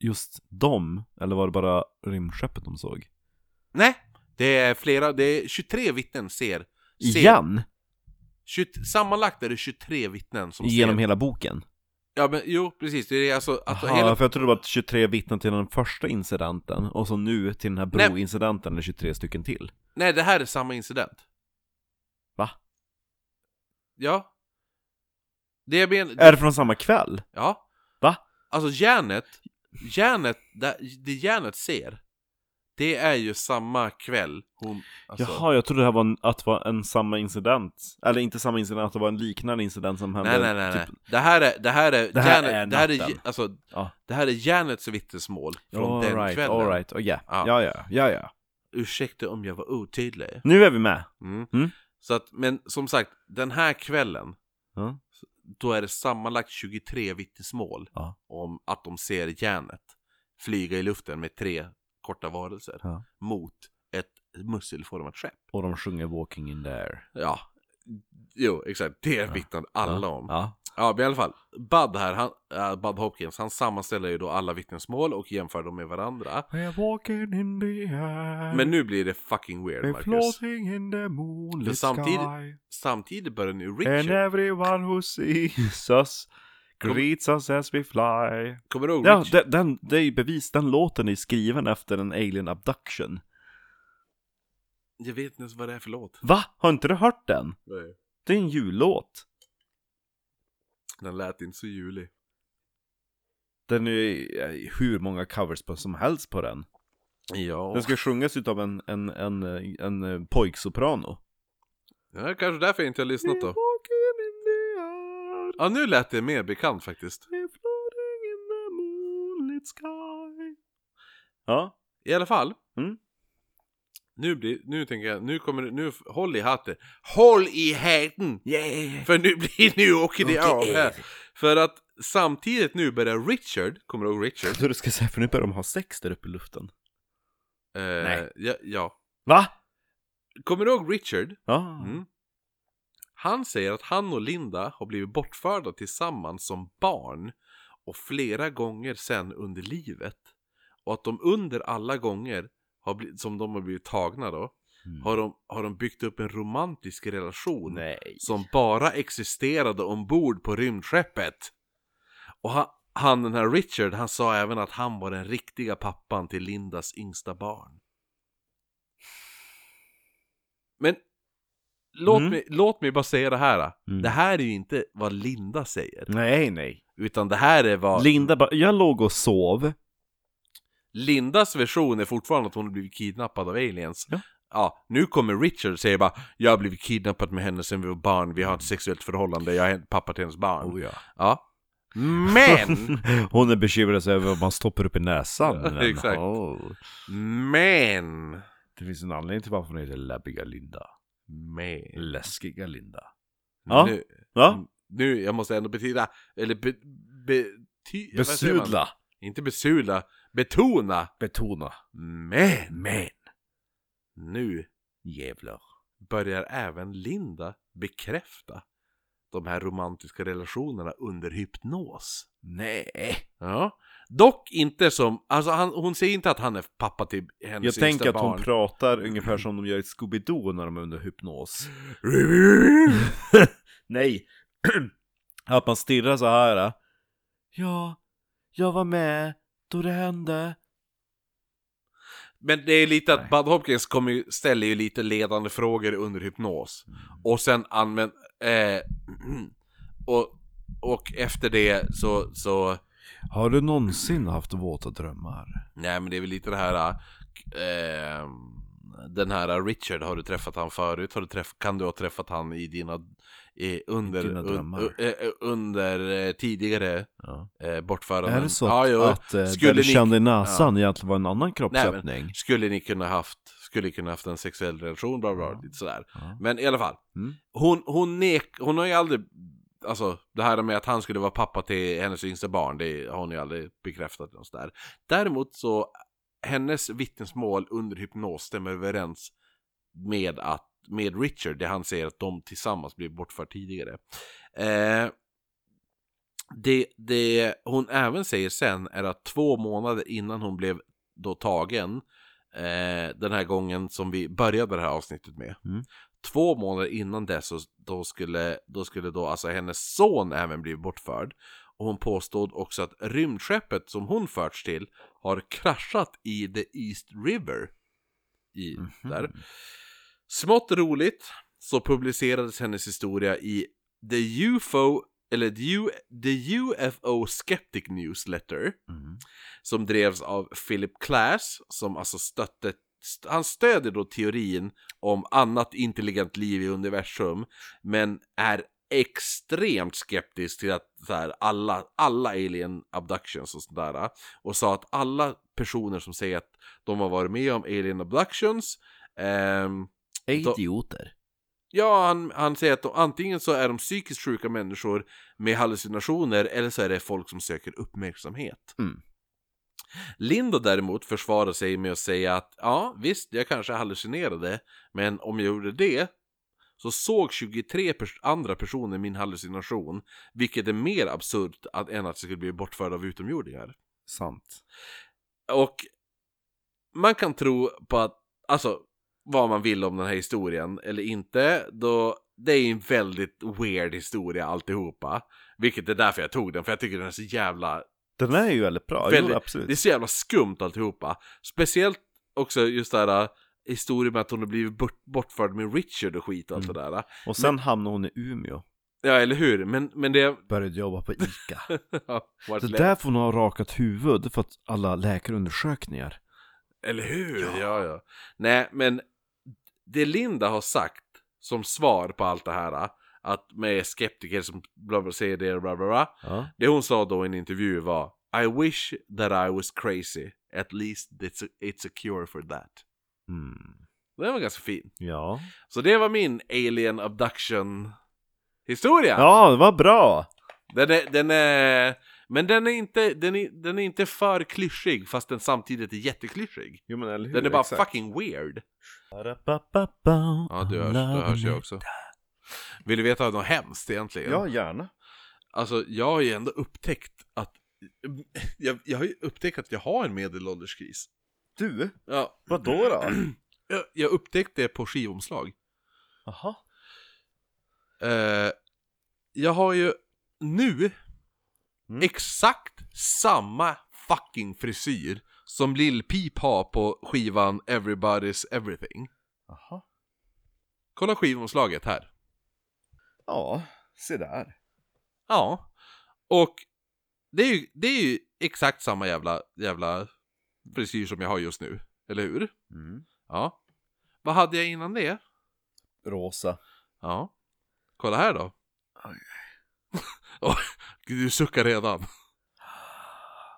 just dem? Eller var det bara rymdskeppet de såg? Nej, det är flera, det är 23 vittnen ser. ser Igen? 20, sammanlagt är det 23 vittnen som ser. Genom hela boken? Ja men jo, precis. Det är alltså att Aha, hela... för jag trodde det var 23 vittnen till den första incidenten och så nu till den här Nej. broincidenten är det 23 stycken till. Nej, det här är samma incident. Va? Ja. Det jag menar... Är det från samma kväll? Ja. Va? Alltså järnet, järnet, det, det järnet ser, det är ju samma kväll hon... Alltså, Jaha, jag trodde det här var en, att det var en samma incident. Eller inte samma incident, att det var en liknande incident som hände. Nej, nej, nej, nej. typ- Det här är, det här är, Det här järnet, är det här är, natten. alltså, Ja. det här är järnets vittnesmål från all den right, kvällen. All right, oh, yeah. Ja. ja. Ja, ja, ja, ja. Ursäkta om jag var otydlig. Nu är vi med. Mm. Mm. Så att, men som sagt, den här kvällen Ja. Då är det sammanlagt 23 vittnesmål Ja. om att de ser järnet flyga i luften med tre korta varelser Ja. mot ett musselformat skepp. Och de sjunger Walking in the air. Ja, jo exakt, det vittnade alla om. Ja. Ja. men i alla fall, Bud här, han, äh, Bud Hopkins, han sammanställer ju då alla vittnesmål och jämför dem med varandra. Walking in the air. Men nu blir det fucking weird Marcus. floating in the För moonlit samtidigt- sky. Samtidigt börjar nu And Richard, everyone who sees us greets us as we fly. kommer du ihåg Ja, Richard? den, den, det är ju bevis. Den låten är skriven efter en alien abduction. Jag vet inte ens vad det är för låt. Va? Har inte du hört den? Nej. Det är en jullåt. Den lät inte så julig. Den är ju eh, hur många covers på, som helst på den. Ja. Den ska sjungas utav en, en, en, en, en eh, pojksoprano. Det är kanske därför jag inte har lyssnat då. Ja, nu lät det mer bekant faktiskt. Ja, I alla fall. Mm. Nu blir, nu tänker jag, nu kommer det, nu, f- håll i hatten. Håll i hatten! Yeah. För nu blir, nu åker det Åker av av. här. För att samtidigt nu börjar Richard, kommer du ihåg Richard? jag tror du ska säga för nu börjar de ha sex där uppe i luften. Eh, Nej. Ja, ja. Va? Kommer du ihåg Richard? Ja. Mm. Han säger att han och Linda har blivit bortförda tillsammans som barn och flera gånger sen under livet. Och att de under alla gånger har bli- som de har blivit tagna då Mm. har, de, har de byggt upp en romantisk relation Nej. som bara existerade ombord på rymdskeppet. Och han, han, den här Richard, han sa även att han var den riktiga pappan till Lindas yngsta barn. Men låt, Mm. mig, låt mig bara säga det här. Mm. Det här är ju inte vad Linda säger, Nej, nej. utan det här är vad... Linda bara, jag låg och sov. Lindas version är fortfarande att hon har blivit kidnappad av aliens. Ja. Ja, nu kommer Richard och säger bara Jag har blivit kidnappad med henne sen vi var barn, vi har ett sexuellt förhållande, jag är pappa till hennes barn. ja. Oh, Ja. [LAUGHS] Men! Hon är bekymrad över vad man stoppar upp [LAUGHS] i näsan. men- Exakt. Åh. Men! Det finns en anledning till varför hon heter Läbbiga Linda. Men. Läskiga Linda. Mm. Ja. Nu, Va? nu, jag måste ändå betyda, eller be, bety, vad säger man? Besudla. Inte besudla, betona. Betona. Men! Men. Nu Jävlar. börjar även Linda bekräfta de här romantiska relationerna under hypnos. Nej. Ja. Dock inte som, alltså han, hon säger inte att han är pappa till hennes Jag yngsta tänker att barn. hon pratar ungefär som de gör i Scooby-Doo när de är under hypnos. [LAUGHS] Nej. [CLEARS THROAT] att man stirrar så här. äh. Ja, jag var med då det hände. Men det är lite att Bud Hopkins kommer ju, ställer ju lite ledande frågor under hypnos. Mm. Och sen använder... Eh, [CLEARS THROAT] och, och efter det så, så... Har du någonsin haft våta drömmar? Nej men det är väl lite det här... Eh, den här Richard, har du träffat han förut? Har du träff, kan du ha träffat han i dina... I, under, dina drömmar. un, eh, eh, under eh, tidigare Ja. eh, bortföranden. Är det så Ja, att, jo. att eh, Skulle det du ni- kände i näsan egentligen var en annan kroppsöppning? Skulle ni kunna haft, skulle kunna haft en sexuell relation, bla bla, bla lite sådär. Ja. Men i alla fall. Mm. Hon, hon, nek, hon har ju aldrig, alltså det här med att han skulle vara pappa till hennes yngsta barn, det har hon ju aldrig bekräftat. Och sådär. Däremot så, hennes vittnesmål under hypnos stämmer överens med, att, med Richard, det han säger att de tillsammans blev bortförda tidigare. Eh, det, det hon även säger sen är att två månader innan hon blev då tagen, eh, den här gången som vi började det här avsnittet med, Mm. två månader innan dess så då skulle, då skulle då alltså hennes son även bli bortförd. Och hon påstod också att rymdskeppet som hon förts till har kraschat i the East River. I, Mhm. Mm. där. Mm. Smått roligt så publicerades hennes historia i The UFO, eller The, U, the UFO Skeptic Newsletter Mm. som drevs av Philip Class som alltså stötte st- han stödjer då teorin om annat intelligent liv i universum men är extremt skeptisk till att så här, alla, alla alien abductions och sådär och sa att alla personer som säger att de har varit med om alien abductions ehm, Då- Idioter. Ja, han, han säger att de, antingen så är de psykiskt sjuka människor med hallucinationer eller så är det folk som söker uppmärksamhet. Mm. Linda däremot försvarar sig med att säga att ja, visst, jag kanske hallucinerade, men om jag gjorde det så såg 23 pers- andra personer min hallucination, vilket är mer absurt att, än att jag skulle bli bortförd av utomjordingar. Sant. Och man kan tro på att, alltså vad man vill om den här historien eller inte, då det är ju en väldigt weird historia alltihopa. Vilket är därför jag tog den, för jag tycker den är så jävla, Den är ju väldigt bra, jo, Väldigt- absolut. det är så jävla skumt alltihopa. Speciellt också just det här historia med att hon har blivit bort, bortförd med Richard och skit och Mm. allt det där. Och sen hamnade hon i Umeå, Ja, eller hur? Men, men det... [LAUGHS] började jobba på ICA. Vart Så lä- där får hon ha rakat huvud för att alla läkarundersökningar. Eller hur? Ja. ja, Nej, men det Linda har sagt som svar på allt det här, att med skeptiker som bla bla, säger det, bla bla bla. Ja. Det hon sa då i en intervju var I wish that I was crazy. At least it's a, it's a cure for that. Mm. Det var ganska fin. Ja. Så det var min alien abduction historia. ja, det var bra! Den är, den är, men den är, inte, den, är, den är inte för klyschig fast den samtidigt är jätteklyschig. Jo, men eller hur, Den är bara fucking weird. Ja, Ja, du hörs, du hörs jag också. Vill du veta något hemskt egentligen? Ja, gärna. Alltså, jag har ju ändå upptäckt att... Jag, jag har ju upptäckt att jag har en medelålderskris. Du, Ja, vad då då? [CLEARS THROAT] jag, jag upptäckte det på skivomslag. Jaha. Eh, jag har ju nu Mm. exakt samma fucking frisyr som Lil Peep har på skivan Everybody's Everything. Jaha. Kolla skivomslaget här. Ja, se där. Ja. Och det är ju, det är ju exakt samma jävla, jävla frisyr som jag har just nu. Eller hur? Mm. Ja. Vad hade jag innan det? Rosa. Ja. Kolla här då. [LAUGHS] Oj, Gud, du suckar [SIGHS] redan.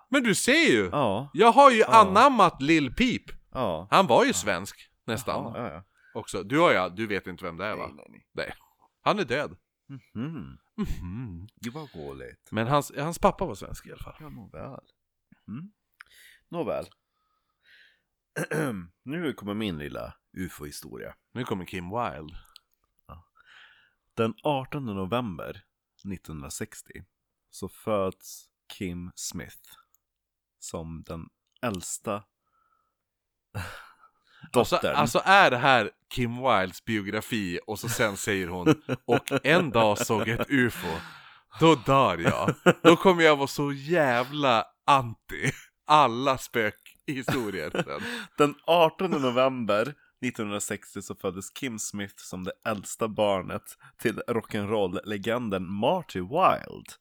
Men du ser ju! Ja, Jag har ju Ja. anammat Lill Peep. ja. Han var ju svensk, nästan. Ja, ja. Också. Du har ja, du vet inte vem det är va? Nej. Han är död. Mm. Mhm. Det var roligt. Men hans, hans pappa var svensk i alla fall. Ja, nåväl. Mm. Nåväl. [CLEARS THROAT] nu kommer min lilla ufo-historia. Nu kommer Kim Wilde. Den 18 november 1960 så föds Kim Smith som den äldsta Alltså, dottern. alltså är det här Kim Wildes biografi och så sen säger hon Och en dag såg jag ett UFO Då dör jag Då kommer jag vara så jävla anti alla spökhistorier sen. Den 18 november 1960 så föddes Kim Smith som det äldsta barnet till rock'n'roll-legenden Marty Wilde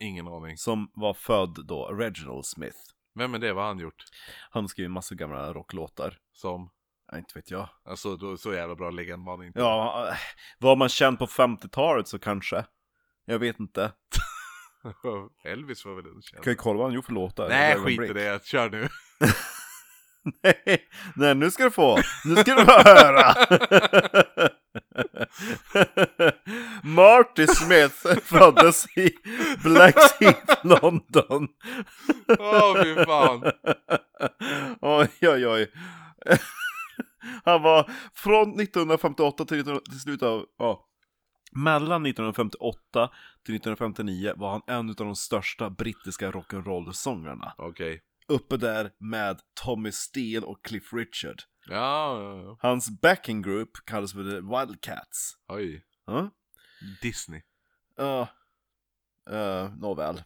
Ingen aning som var född då Reginald Smith. Vem är det? Vad har han gjort? Han skrev massor gamla rocklåtar. Som? Ja, inte vet jag. Alltså då, så jävla bra legend var han inte [LAUGHS] Ja, eh, var man känd på 50-talet så kanske. Jag vet inte. Elvis var väl Kan underkänd? ju kolla vad han gjorde för låtar. Nej Ett skit i ögonblick. det, kör nu [LAUGHS] Nej, [LAUGHS] Nej, nu ska du få. Nu ska du få höra. [LAUGHS] Marty Smith föddes i Blackheath, London. [LAUGHS] Åh fy fan Oj, oj, oj. [LAUGHS] Han var från 1958 till, 19 till slutet av, ja, mellan 1958 till 1959 var han en av de största brittiska rock'n'roll-sångarna. Okej Uppe där med Tommy Steele och Cliff Richard. Ja, ja, ja, Hans backing group kallas för The Wildcats. oj Ja, Disney [LAUGHS] ja, eh, nåväl.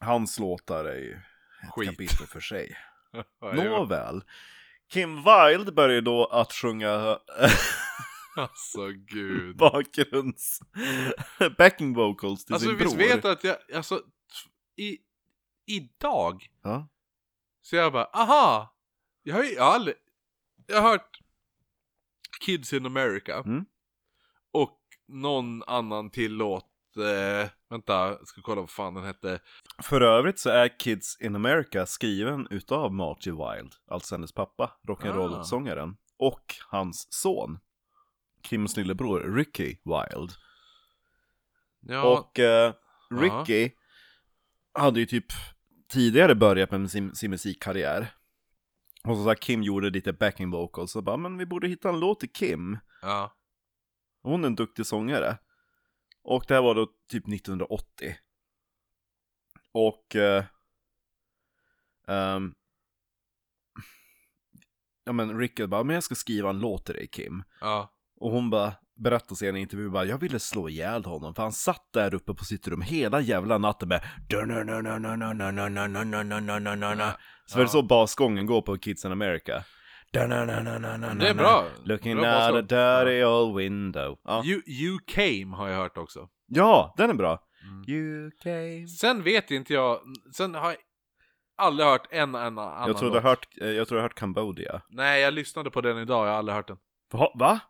Hans låtar är ju ett Skit. kapitel för sig. [LAUGHS] Ja, det var- Nåväl. Kim Wilde började då att sjunga [LAUGHS] Alltså gud bakgrunds... [LAUGHS] backing vocals till Alltså sin visst bror. vet du att jag, alltså t- i, idag Ja. så jag bara, aha! Jag har ju jag har aldrig, jag har hört Kids in America Mm. och någon annan till låt, eh, vänta, jag ska kolla vad fan den hette. För övrigt så är Kids in America skriven utav Marty Wilde, alltså hennes pappa, rock'n'roll-sångaren, och hans son, Kims lillebror Ricky Wilde. Ja, Och eh, Ricky hade ju typ tidigare börjat med sin, sin musikkarriär. Och så sa Kim gjorde lite backing vocals och bara, men vi borde hitta en låt till Kim. ja, Hon är en duktig sångare. Och det här var då typ 1980. Och... Eh, ehm, ja men Rickard bara, men jag ska skriva en låt till dig Kim. ja, Och hon bara berättade sen i en intervju bara, jag ville slå ihjäl honom för han satt där uppe på sitt rum hela jävla natten med Så var det så basgången går på Kids in America. Det är bra. Looking bra out a påslag. dirty old window. Ja. You, you came har jag hört också. ja, den är bra. Mm. You came. Sen vet inte jag, sen har jag aldrig hört en, en annan Jag tror du låt. har hört, eh, jag tror du har hört Cambodia. Nej, jag lyssnade på den idag, jag har aldrig hört den. Va? Va?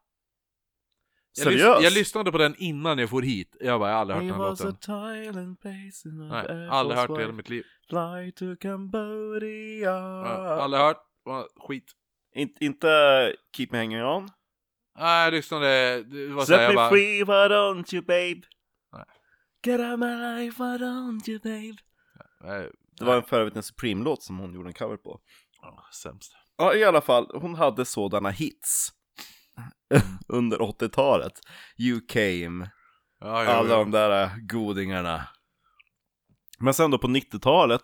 Jag, lys- Seriöst? jag lyssnade på den innan jag for hit. Jag bara, jag har aldrig hört den He was a låten. Thailand basin of Nej, Air aldrig hört Force det i hela One. mitt liv. Fly to Cambodia. Ja, aldrig hört. Ja, Skit. In, inte Keep Me Hanging On. Nej, jag lyssnade, det var så här, Set jag me bara... free, why don't you babe? Nej. Get out my life, why don't you babe? Nej, Det var en för övrigt en Supreme-låt som hon gjorde en cover på. ja, sämst. Ja, i alla fall, hon hade sådana hits [LAUGHS] under 80-talet. You came, Ja, jo, alla jo. de där äh, godingarna. Men sen då på 90-talet,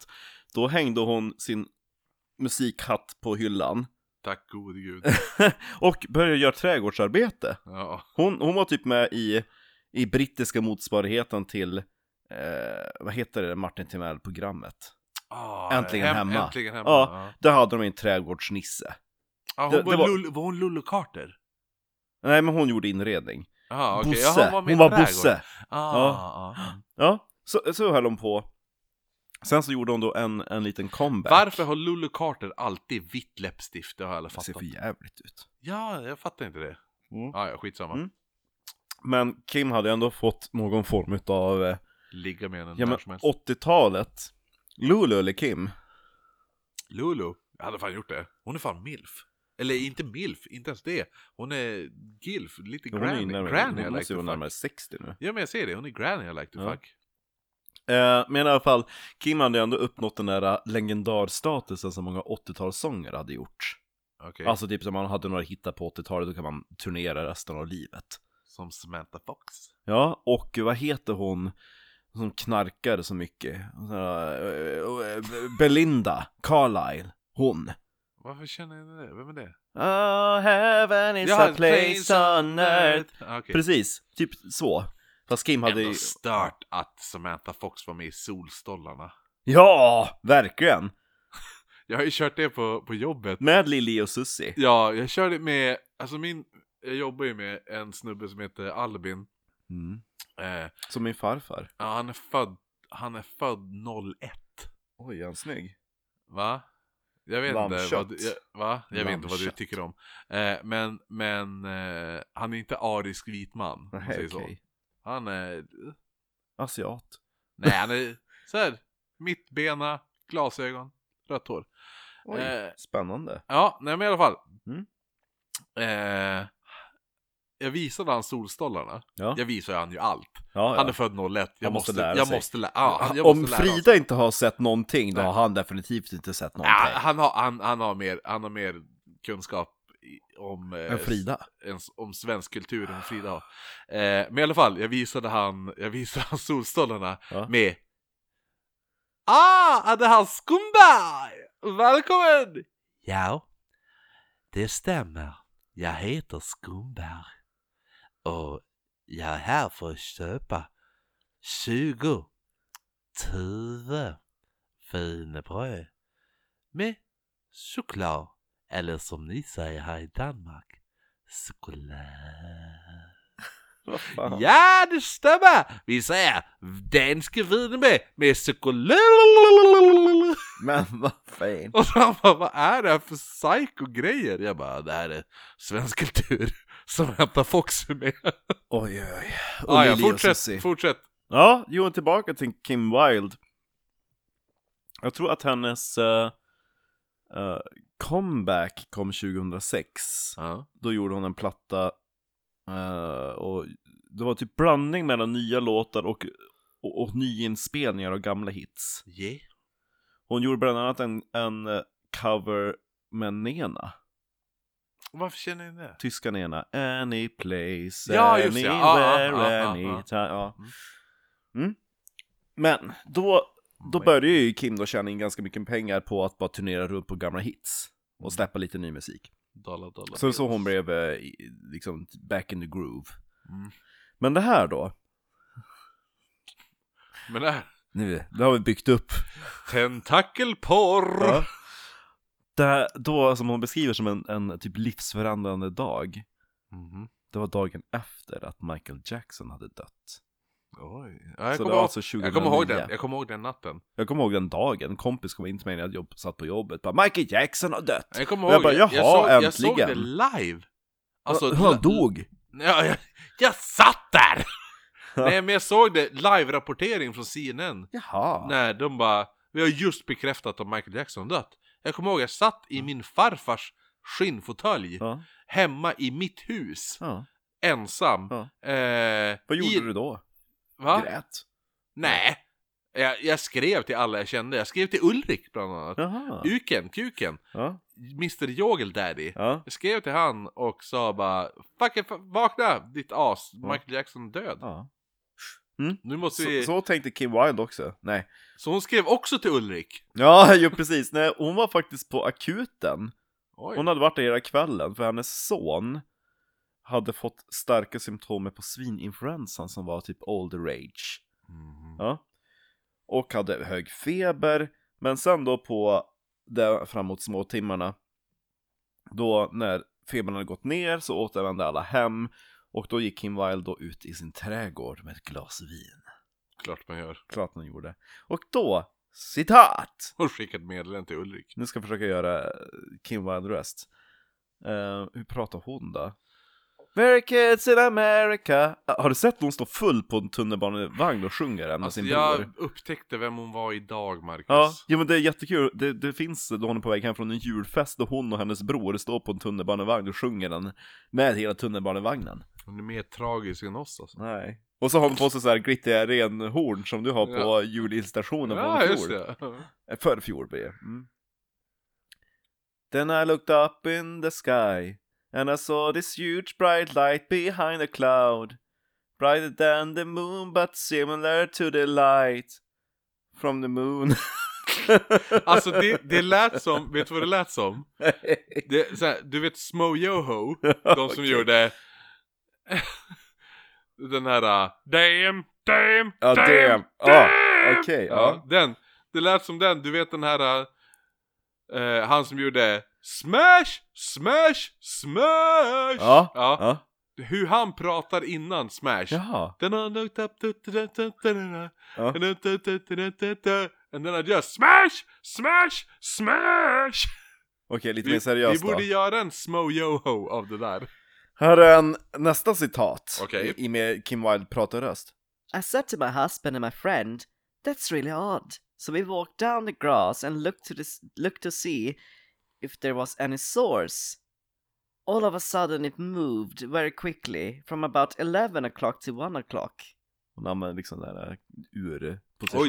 då hängde hon sin musikhatt på hyllan [LAUGHS] Tack gode gud. och började göra trädgårdsarbete. Ja. Hon, hon var typ med i, i brittiska motsvarigheten till, eh, vad heter det, Martin Timell-programmet. Ah, Äntligen hemma. Äntligen hemma. Ja. Ja. Där hade de en trädgårdsnisse. Ja, hon Det- var, det var- Lull, var hon Lulu Carter? Nej, men hon gjorde inredning. Jaha, okej. Bosse. Jaha, med hon i var trädgården. Bosse. Ah, Ja. ja. ah. Ja, så, så höll hon på. Sen så gjorde hon då en, en liten comeback. Varför har Lulu Carter alltid vitt läppstift? Det har jag aldrig Det ser fattat. för jävligt ut. Ja, jag fattar inte det. Mm. Ah, ja, skitsamma. Mm. Men Kim hade ändå fått någon form utav, eh, Ligga med henne ja när men som helst. 80-talet. Lulu eller Kim? Lulu, jag hade fan gjort det. Hon är fan milf. Eller inte milf, inte ens det. Hon är gilf, lite Hon, är ju granny. närmare, granny hon I like måste ju to vara närmare fuck. 60 nu. Ja men jag säger det, hon är granny I like to Ja. fuck. Eh, men i alla fall, Kim hade ändå uppnått den där eh, legendarstatusen som många 80-talssångare hade gjort. Okej, Alltså typ som man hade några hittar på 80-talet, då kan man turnera resten av livet. som Samantha Fox. Ja, och vad heter hon som knarkade så mycket? Sån här, eh, eh, Belinda Carlisle, hon. Varför känner jag det? Vem är det? Oh, heaven is Jaha, a place on earth. Ah, Okej. Precis, typ så. Fast Kim hade Ändå ju... stört att Samantha Fox var med i Solstollarna. Ja, verkligen! Jag har ju kört det på, på jobbet. Med Lili och Susie. Ja, jag körde med, alltså min, jag jobbar ju med en snubbe som heter Albin. Mm. Eh, ja, Som min farfar. han är född, han är född 01. Oj, är han snygg? Va? Jag vet inte Lammkött. vad, du- jag, va? Jag vet inte vad du Lammkött. tycker om. Eh, men, men eh, han är inte arisk vit man. om man Nej, säger så. okej. Han är, Asiat. nej han är såhär, mittbena, glasögon, rött hår. Oj, Eh. spännande. Ja, nej men i alla fall. Mm. Eh, jag visade han solstollarna. Ja. Jag visar han ju allt. Ja, Han är född 01. Jag Han måste måste, lära jag sig. måste lära ja, han- jag Om måste lära honom. Frida inte har sett någonting, då Nej. har han definitivt inte sett någonting. Ja, han, har, han, han, har mer, han har mer kunskap i- om, eh, Men Frida? en, om svensk kultur än Frida har. Eh, men i alla fall, jag visade han, jag visade han solstollarna Ja. med Ah, Adahas Kumbai! Välkommen! Ja, det stämmer. Jag heter Skumberg. Och jag är här för att köpa 20, 20 wienerbröd med choklad. Eller som ni säger här i Danmark, choklad. Vad fan? Ja, det stämmer! Vi säger danske wienerbröd med choklad. Men vad fan? Och så han bara, vad är det här för psyko-grejer? Jag bara, det här är svensk kultur som hämtar Fox är med. Oj, oj, oj. Och Ah, ja, Lili och fortsätt, Susie. fortsätt. Ja, jo, tillbaka till Kim Wilde. Jag tror att hennes eh, eh, comeback kom 2006. Ja. Då gjorde hon en platta eh, och det var typ blandning mellan nya låtar och, och, och nyinspelningar och gamla hits. Yeah. Hon gjorde bland annat en, en eh, cover med Nena, Varför känner ni det? tyska Nena. Any place, Ja, just det. Ja, ja, ja, anywhere, ja, ja. anytime. Ja. Mm. Men då Då började ju Kim då tjäna in ganska mycket pengar på att bara turnera runt på gamla hits Mm. och släppa lite ny musik. Dollar, dollar. Så så hon blev eh, i- liksom back in the groove. Mm. Men det här då, Men det här. [LAUGHS] nu, det har vi byggt upp. Tentakelporr! Ja. Det här, då som hon beskriver som en, en typ livsförändrande dag. Mhm. Det var dagen efter att Michael Jackson hade dött. Oj. Ja, jag, Så det kommer var ihåg, alltså 2009. jag kommer ihåg den, jag kommer ihåg den natten. Jag kommer ihåg den dagen, en kompis kom in till mig när jag jobb, satt på jobbet bara Michael Jackson har dött! Jag kommer Och ihåg, jag bara, "Jaha, såg, jag såg det äntligen." live. Alltså, Hur han dog! Ja, jag, jag satt [LAUGHS] där! Nej men jag såg det, live-rapportering från CNN. Jaha! När de bara, vi har just bekräftat att Michael Jackson dött. Jag kommer ihåg, jag satt i min farfars skinnfåtölj. Ja, Hemma i mitt hus. ja. Ensam. Ja. Eh, Vad gjorde i, du då? Va? Grät? Nej. Jag, jag skrev till alla jag kände. Jag skrev till Ulrik bland annat. Jaha! Uken, kuken. Ja, Mr Yogel Daddy. ja. Jag skrev till han och sa bara Fucking fa- vakna ditt as, Michael Jackson är död. ja. Nu måste Så, vi... Så, så tänkte Kim Wilde också. Nej. hon skrev också till Ulrik. Ja, [LAUGHS] ju precis. Nej, hon var faktiskt på akuten. Oj. Hon hade varit där hela kvällen för hennes son hade fått starka symptom på svininfluensan som var typ older age. Mm, Ja. Och hade hög feber. Men sen då på där framåt små timmarna då när febern hade gått ner så återvände alla hem och då gick Kim Wilde då ut i sin trädgård med ett glas vin. Klart man gör. Klart han gjorde. Och då, citat! Hon skickade meddelande till Ulrik. Nu ska jag försöka göra eh, Kim Wilde-röst. Eh, hur pratar hon då? Very kids in America Ah, Har du sett hon står full på en tunnelbanevagn och sjunger den med Alltså, sin bror? jag upptäckte vem hon var idag, Marcus. Ja, ja, men det är jättekul. Det, det finns då hon är på väg hem från en julfest då hon och hennes bror står på en tunnelbanevagn och sjunger den med hela tunnelbanevagnen. Hon är mer tragisk än oss alltså. Nej. Och så har hon på sig så här glittriga renhorn som du har på Ja. julinstallationen Ja, från just fjol. det. Eh, För fjol blir det. Mm. Then I looked up in the sky and I saw this huge bright light behind a cloud. Brighter than the moon but similar to the light from the [LAUGHS] moon. [LAUGHS] Alltså det, det lät som, vet du vad det lät som? Det, så här, du vet Smo [LAUGHS] Yoho, de som gjorde den här uh, Damn, damn, Ja, damn, damn. Ja, okej. ja. Den, det lät som den, du vet den här uh, eh, Han som gjorde Smash, smash, smash Ja, ja. ja. Hur han pratar innan smash Jaha. Then I looked up da- da- da- da- da- Ja. da- da- da- da- da- da- da. And then I just smash, smash, smash Okej, lite mer vi, vi seriöst då. borde göra en Smo Yoho av det där Här är en nästa citat Okej. i, i med Kim Wilde pratar röst. I said to my husband and my friend, "That's really odd." So we walked down the grass and looked to this, looked to see if there was any source. All of a sudden, it moved very quickly from about eleven o'clock to one o'clock. Hon använder liksom den där urpositionerna.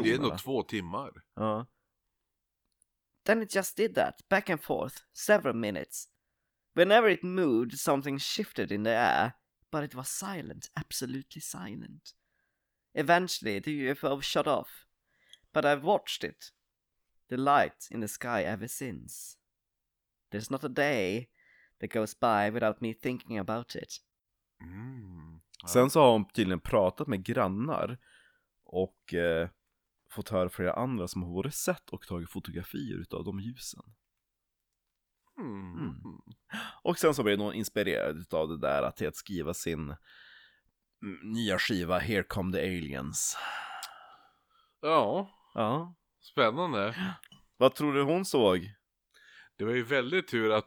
Oj, det är nog två timmar Ja. Then it just did that, back and forth, several minutes. Whenever it moved, something shifted in the air, but it was silent, absolutely silent. Eventually, the UFO shut off, but I've watched it, the light in the sky ever since. There's not a day that goes by without me thinking about it. mm. Sen så har hon tydligen pratat med grannar och eh, fått höra flera andra som har både sett och tagit fotografier utav de ljusen. Mm. Mm. Och sen så blev hon inspirerad utav det där till att skriva sin mm, nya skiva Here Come the Aliens. Ja, Ja. spännande Vad tror du hon såg? Det var ju väldigt tur att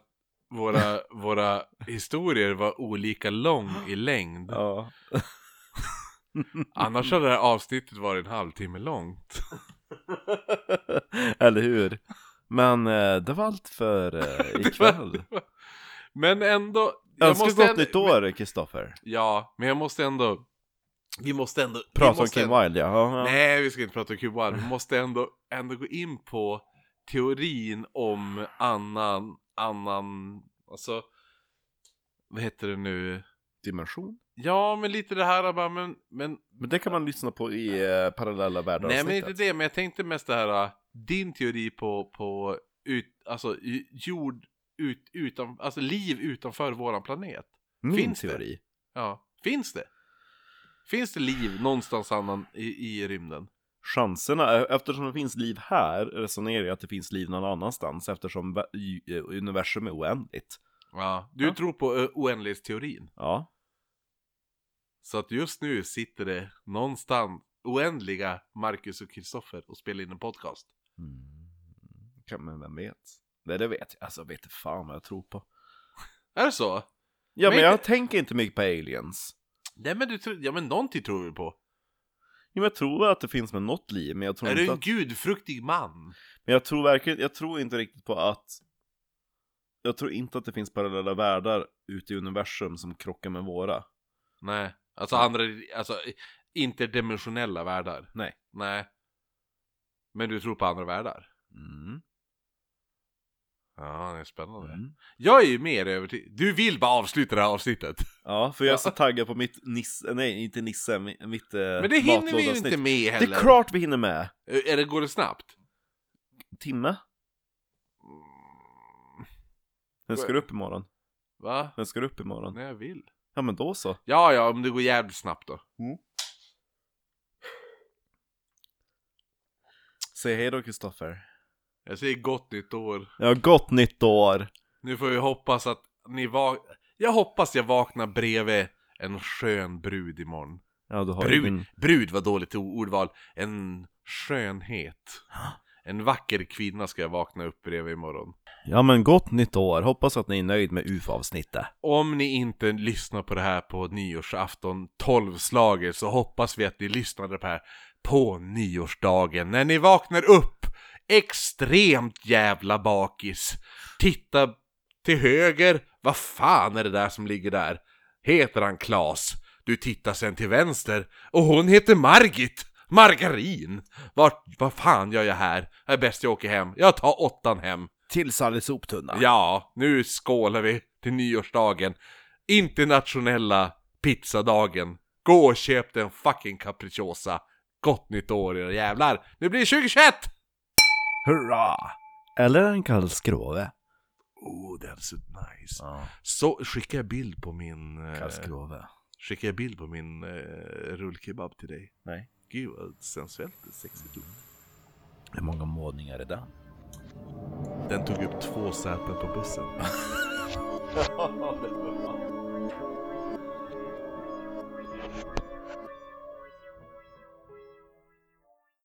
våra, våra historier var olika lång i längd. Ja. [LAUGHS] Annars hade det här avsnittet varit en halvtimme långt. Eller hur? Men eh, det var allt för [LAUGHS] eh, ikväll. Men ändå... jag Önska måste gott ändå- nytt år, Kristoffer. Ja, men jag måste ändå... Vi måste ändå... vi Prata om måste Kim ändå- Wilde, ja. ja. ja. Nej, vi ska inte prata om Kuba. Vi måste ändå, ändå gå in på teorin om annan... Annan... Alltså... Vad heter det nu? Dimension. Ja, men lite det här bara, men... men Men det kan man lyssna på i eh, parallella världar Nej men inte det, men jag tänkte mest det här äh, din teori på, på ut, alltså i- jord ut, utan, alltså liv utanför våran planet. Min Finns det? teori. Ja, finns det? Finns det liv någonstans annan i, i rymden? chanserna, e- eftersom det finns liv här, resonerar jag att det finns liv någon annanstans eftersom vä- i- eh, universum är oändligt. Ja. Du tror på ö, oändlighetsteorin. Ja. Så att just nu sitter det någonstans oändliga Marcus och Kristoffer och spelar in en podcast. Mm. Kan, men vem vet? Nej, det vet jag. Alltså, jag vet inte fan vad jag tror på. Är det så? Ja, Men men, jag inte- tänker inte mycket på aliens. Nej men du tror, ja men någonting tror vi på. Jo, men jag tror väl att det finns med något liv, men jag tror Är du inte en att... gudfruktig man? Men jag tror verkligen, jag tror inte riktigt på att... Jag tror inte att det finns parallella världar ute i universum som krockar med våra. Nej, alltså andra, alltså interdimensionella världar. Nej. Nej. Men du tror på andra världar? Mm. Ja, det är spännande. Mm. Jag är ju mer övertygad. Du vill bara avsluta det här avsnittet. Ja, för jag är så taggad på mitt Nisse, nej inte Nisse, mi- mitt eh, Men det hinner vi ju inte med Det heller. är klart vi hinner med! Eller går det snabbt? Mm. Timme? Den ska upp imorgon. Va? Den ska upp imorgon. När jag vill. Ja men då så. Ja, ja, om det går jävligt snabbt då. Säg hej då Kristoffer. Jag säger gott nytt år. Ja, gott nytt år! Nu får vi hoppas att ni va... Jag hoppas jag vaknar bredvid en skön brud imorgon. Ja, du har ju Brud, min... brud var dåligt o- ordval. En skönhet. En vacker kvinna ska jag vakna upp bredvid imorgon. Ja men gott nytt år, hoppas att ni är nöjd med UF-avsnittet. Om ni inte lyssnar på det här på nyårsafton 12 slaget så hoppas vi att ni lyssnade på det här på nyårsdagen. När ni vaknar upp extremt jävla bakis. Titta till höger. Vad fan är det där som ligger där? Heter han Klas? Du tittar sen till vänster och hon heter Margit. Margarin! Vart, vad fan gör jag här? Det är bäst jag åker hem. Jag tar åttan hem. Till Sally soptunna. Ja, nu skålar vi till nyårsdagen. Internationella pizzadagen. Gå och köp den fucking capricciosa. Gott nytt år era jävlar. Nu blir det 2021! Hurra! Eller en kall skrove. Oh, that's nice. Ja, Så skickar jag bild på min... eh, kall skrove. skickar jag bild på min eh, rullkebab till dig? Nej. Gud vad sensuellt och sexigt ut. Hur många målningar är den? Den tog upp två säten på bussen.